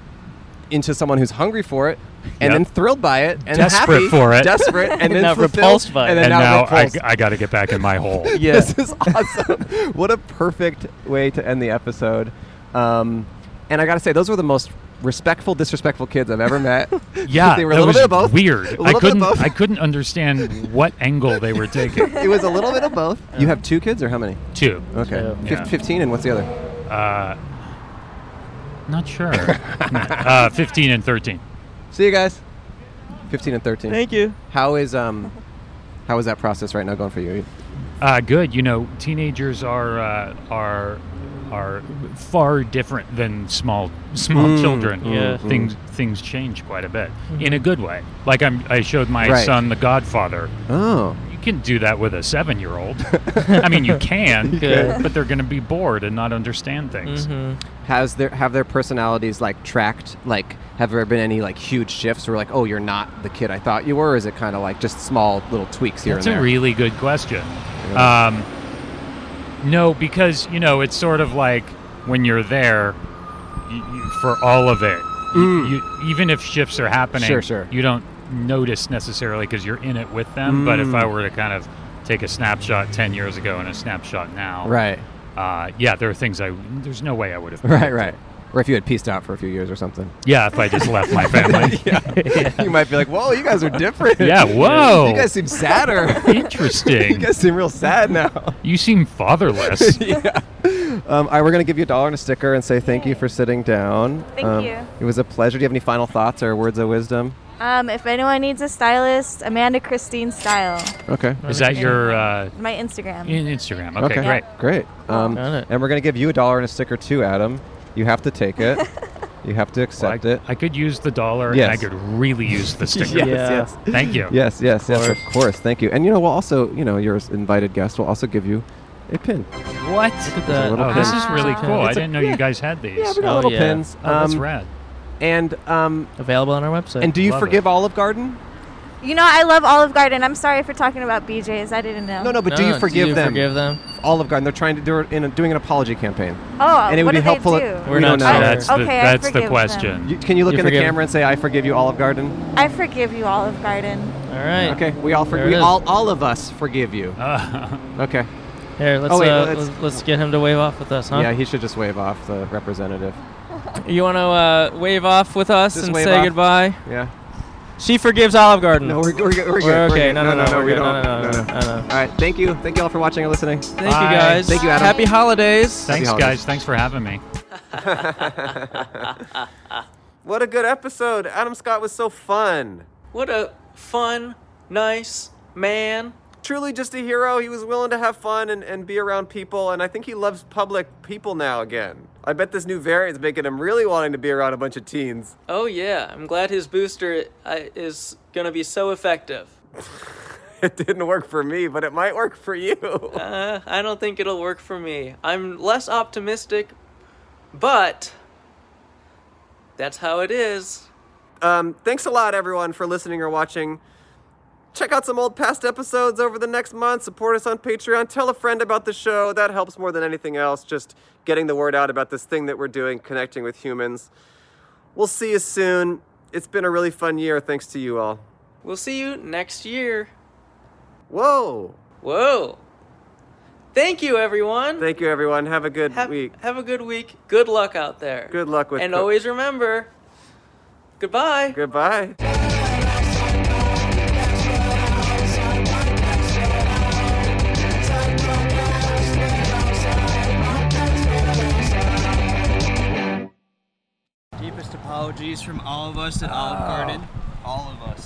B: into someone who's hungry for it and
D: Yep.
B: then thrilled by it and
D: Desperate
B: happy,
D: for it.
B: desperate and then
D: Now
B: fulfilled,
D: repulsed by it.
B: and then
D: And
B: now,
D: now I-
B: repulsed.
D: I gotta get back in my hole. Yeah.
B: This is awesome. what a perfect way to end the episode. Um, and I got to say, those were the most respectful, disrespectful kids I've ever met.
D: Yeah,
B: they were a
D: that
B: little
D: was
B: bit of both.
D: Weird.
B: A
D: I
B: little bit of
D: couldn't.
B: both.
D: I couldn't understand what angle they were taking.
B: it was a little bit of both. You have two kids or how many?
D: Two.
B: Okay.
D: Two.
B: Fif-
D: Yeah.
B: 15 and what's the other?
D: Uh, not sure. uh, Fifteen and thirteen.
B: See you guys. 15 and 13.
D: Thank you.
B: How is um how is that process right now going for you?
D: Uh, good. You know, teenagers are uh, are are far different than small small
B: Mm,
D: children.
B: yeah.
D: Things things change quite a bit in a good way. Like I'm, I showed my
B: Right.
D: son The Godfather.
B: Oh.
D: You can do that with a seven year old. I mean, you can,
B: You can.
D: but they're going to be bored and not understand things.
B: Has their have their personalities like tracked like have there been any like huge shifts where like oh you're not the kid I thought you were or is it kind of like just small little tweaks here
D: That's
B: and there?
D: a really good question. Um, no, because you know it's sort of like when you're there you, you, for all of it. you-
B: Mm.
D: you- even if shifts are happening,
B: Sure, sure.
D: you don't notice necessarily because you're in it with them. But if
B: Mm.
D: I were to kind of take a snapshot ten years ago and a snapshot now,
B: Right.
D: Uh, yeah, there are things I. There's no way I would have.
B: right, right. Or if you had pieced out for a few years or something.
D: Yeah, if I just left my family.
B: yeah. You might be like, "Whoa, you guys are different."
D: Yeah, whoa.
B: You guys seem sadder.
D: Interesting.
B: you guys seem real sad now.
D: You seem fatherless.
B: yeah. Um, all right, we're going to give you a dollar and a sticker and say thank you for sitting down.
J: Thank
B: Um,
J: you.
B: It was a pleasure. Do you have any final thoughts or words of wisdom?
J: Um, if anyone needs a stylist, Amanda Christine Style.
B: Okay.
D: Is that your uh,
J: My Instagram.
D: in Instagram? Okay, great.
B: Great. Um, and we're going to give you a dollar and a sticker too, Adam. You have to take it.
H: You have to
D: Well,
H: accept
D: I,
H: it.
D: I could use the dollar and I
H: Yes.
D: could really use the sticker.
H: yes, yes.
D: Thank you.
H: Yes, yes, yes. Of course. Thank you. And you know, we'll also, you know, your invited guest will also give you a pin.
A: What?
H: that. little
D: Oh, this
H: pin.
D: is really
H: Ah.
D: cool. I
H: It's a-
D: didn't know you guys had these.
H: Yeah, we got little pins.
D: Oh, that's
H: Um,
D: rad.
H: And um,
O: available on our website.
H: and do you
O: Love it.
H: forgive Olive Garden?
J: You know, I love Olive Garden. I'm sorry for talking about BJ's. I didn't know.
H: No, no. But do you forgive them?
O: forgive them?
H: Olive Garden. They're trying to do it in a, doing an apology campaign.
J: Oh,
H: and it
J: what did
H: would be
J: they
H: helpful. if-
J: do?
H: we
D: We're not
H: don't know.
D: sure. That's the- Okay, I that's the forgive them. question.
H: You- can you look
D: You
H: in the
D: forgive-
H: camera and say, "I forgive you, Olive Garden"?
J: I forgive you, Olive Garden.
H: All
A: right.
H: Okay. We all
A: There
H: for,
A: it
H: we
A: is.
H: all all of us forgive you. okay.
A: Here, let's,
H: Oh, wait,
A: uh,
H: let's-
A: let's let's get him to wave off with us, huh?
H: Yeah, he should just wave off the representative.
A: You want to uh, wave off with us
H: Just
A: and
H: wave
A: say
H: off.
A: goodbye?
H: Yeah.
A: She forgives Olive Garden.
H: No, we're, we're, good- we're good.
A: We're
H: We're
A: okay.
H: good.
A: No, no, no, we're
H: we
A: good.
H: don't.
A: No, no, no, no,
H: All right. Thank you. Thank you all for watching and listening.
A: Thank you guys.
H: Thank you, Adam.
A: Happy holidays.
D: Thanks, guys. Thanks for having me.
B: What a good episode. Adam Scott was so fun.
C: What a fun, nice man.
B: Truly just a hero. He was willing to have fun and, and be around people, and I think he loves public people now again. I bet this new variant's making him really wanting to be around a bunch of teens.
C: Oh yeah, I'm glad his booster uh, is gonna be so effective.
B: It didn't work for me, but it might work for you.
C: Uh, I don't think it'll work for me. I'm less optimistic, but that's how it is.
B: Um, thanks a lot, everyone, for listening or watching. Check out some old past episodes over the next month. Support us on Patreon. Tell a friend about the show. That helps more than anything else. Just getting the word out about this thing that we're doing, connecting with humans. We'll see you soon. It's been a really fun year. Thanks to you all.
C: We'll see you next year.
B: Whoa.
C: Whoa. Thank you, everyone.
B: Thank you, everyone. Have a good week.
C: Have a good week. Good luck out there.
B: Good luck with
C: and
B: co-
C: always remember. Goodbye.
B: Goodbye.
F: Deepest apologies from all of us at Olive Garden. All of us.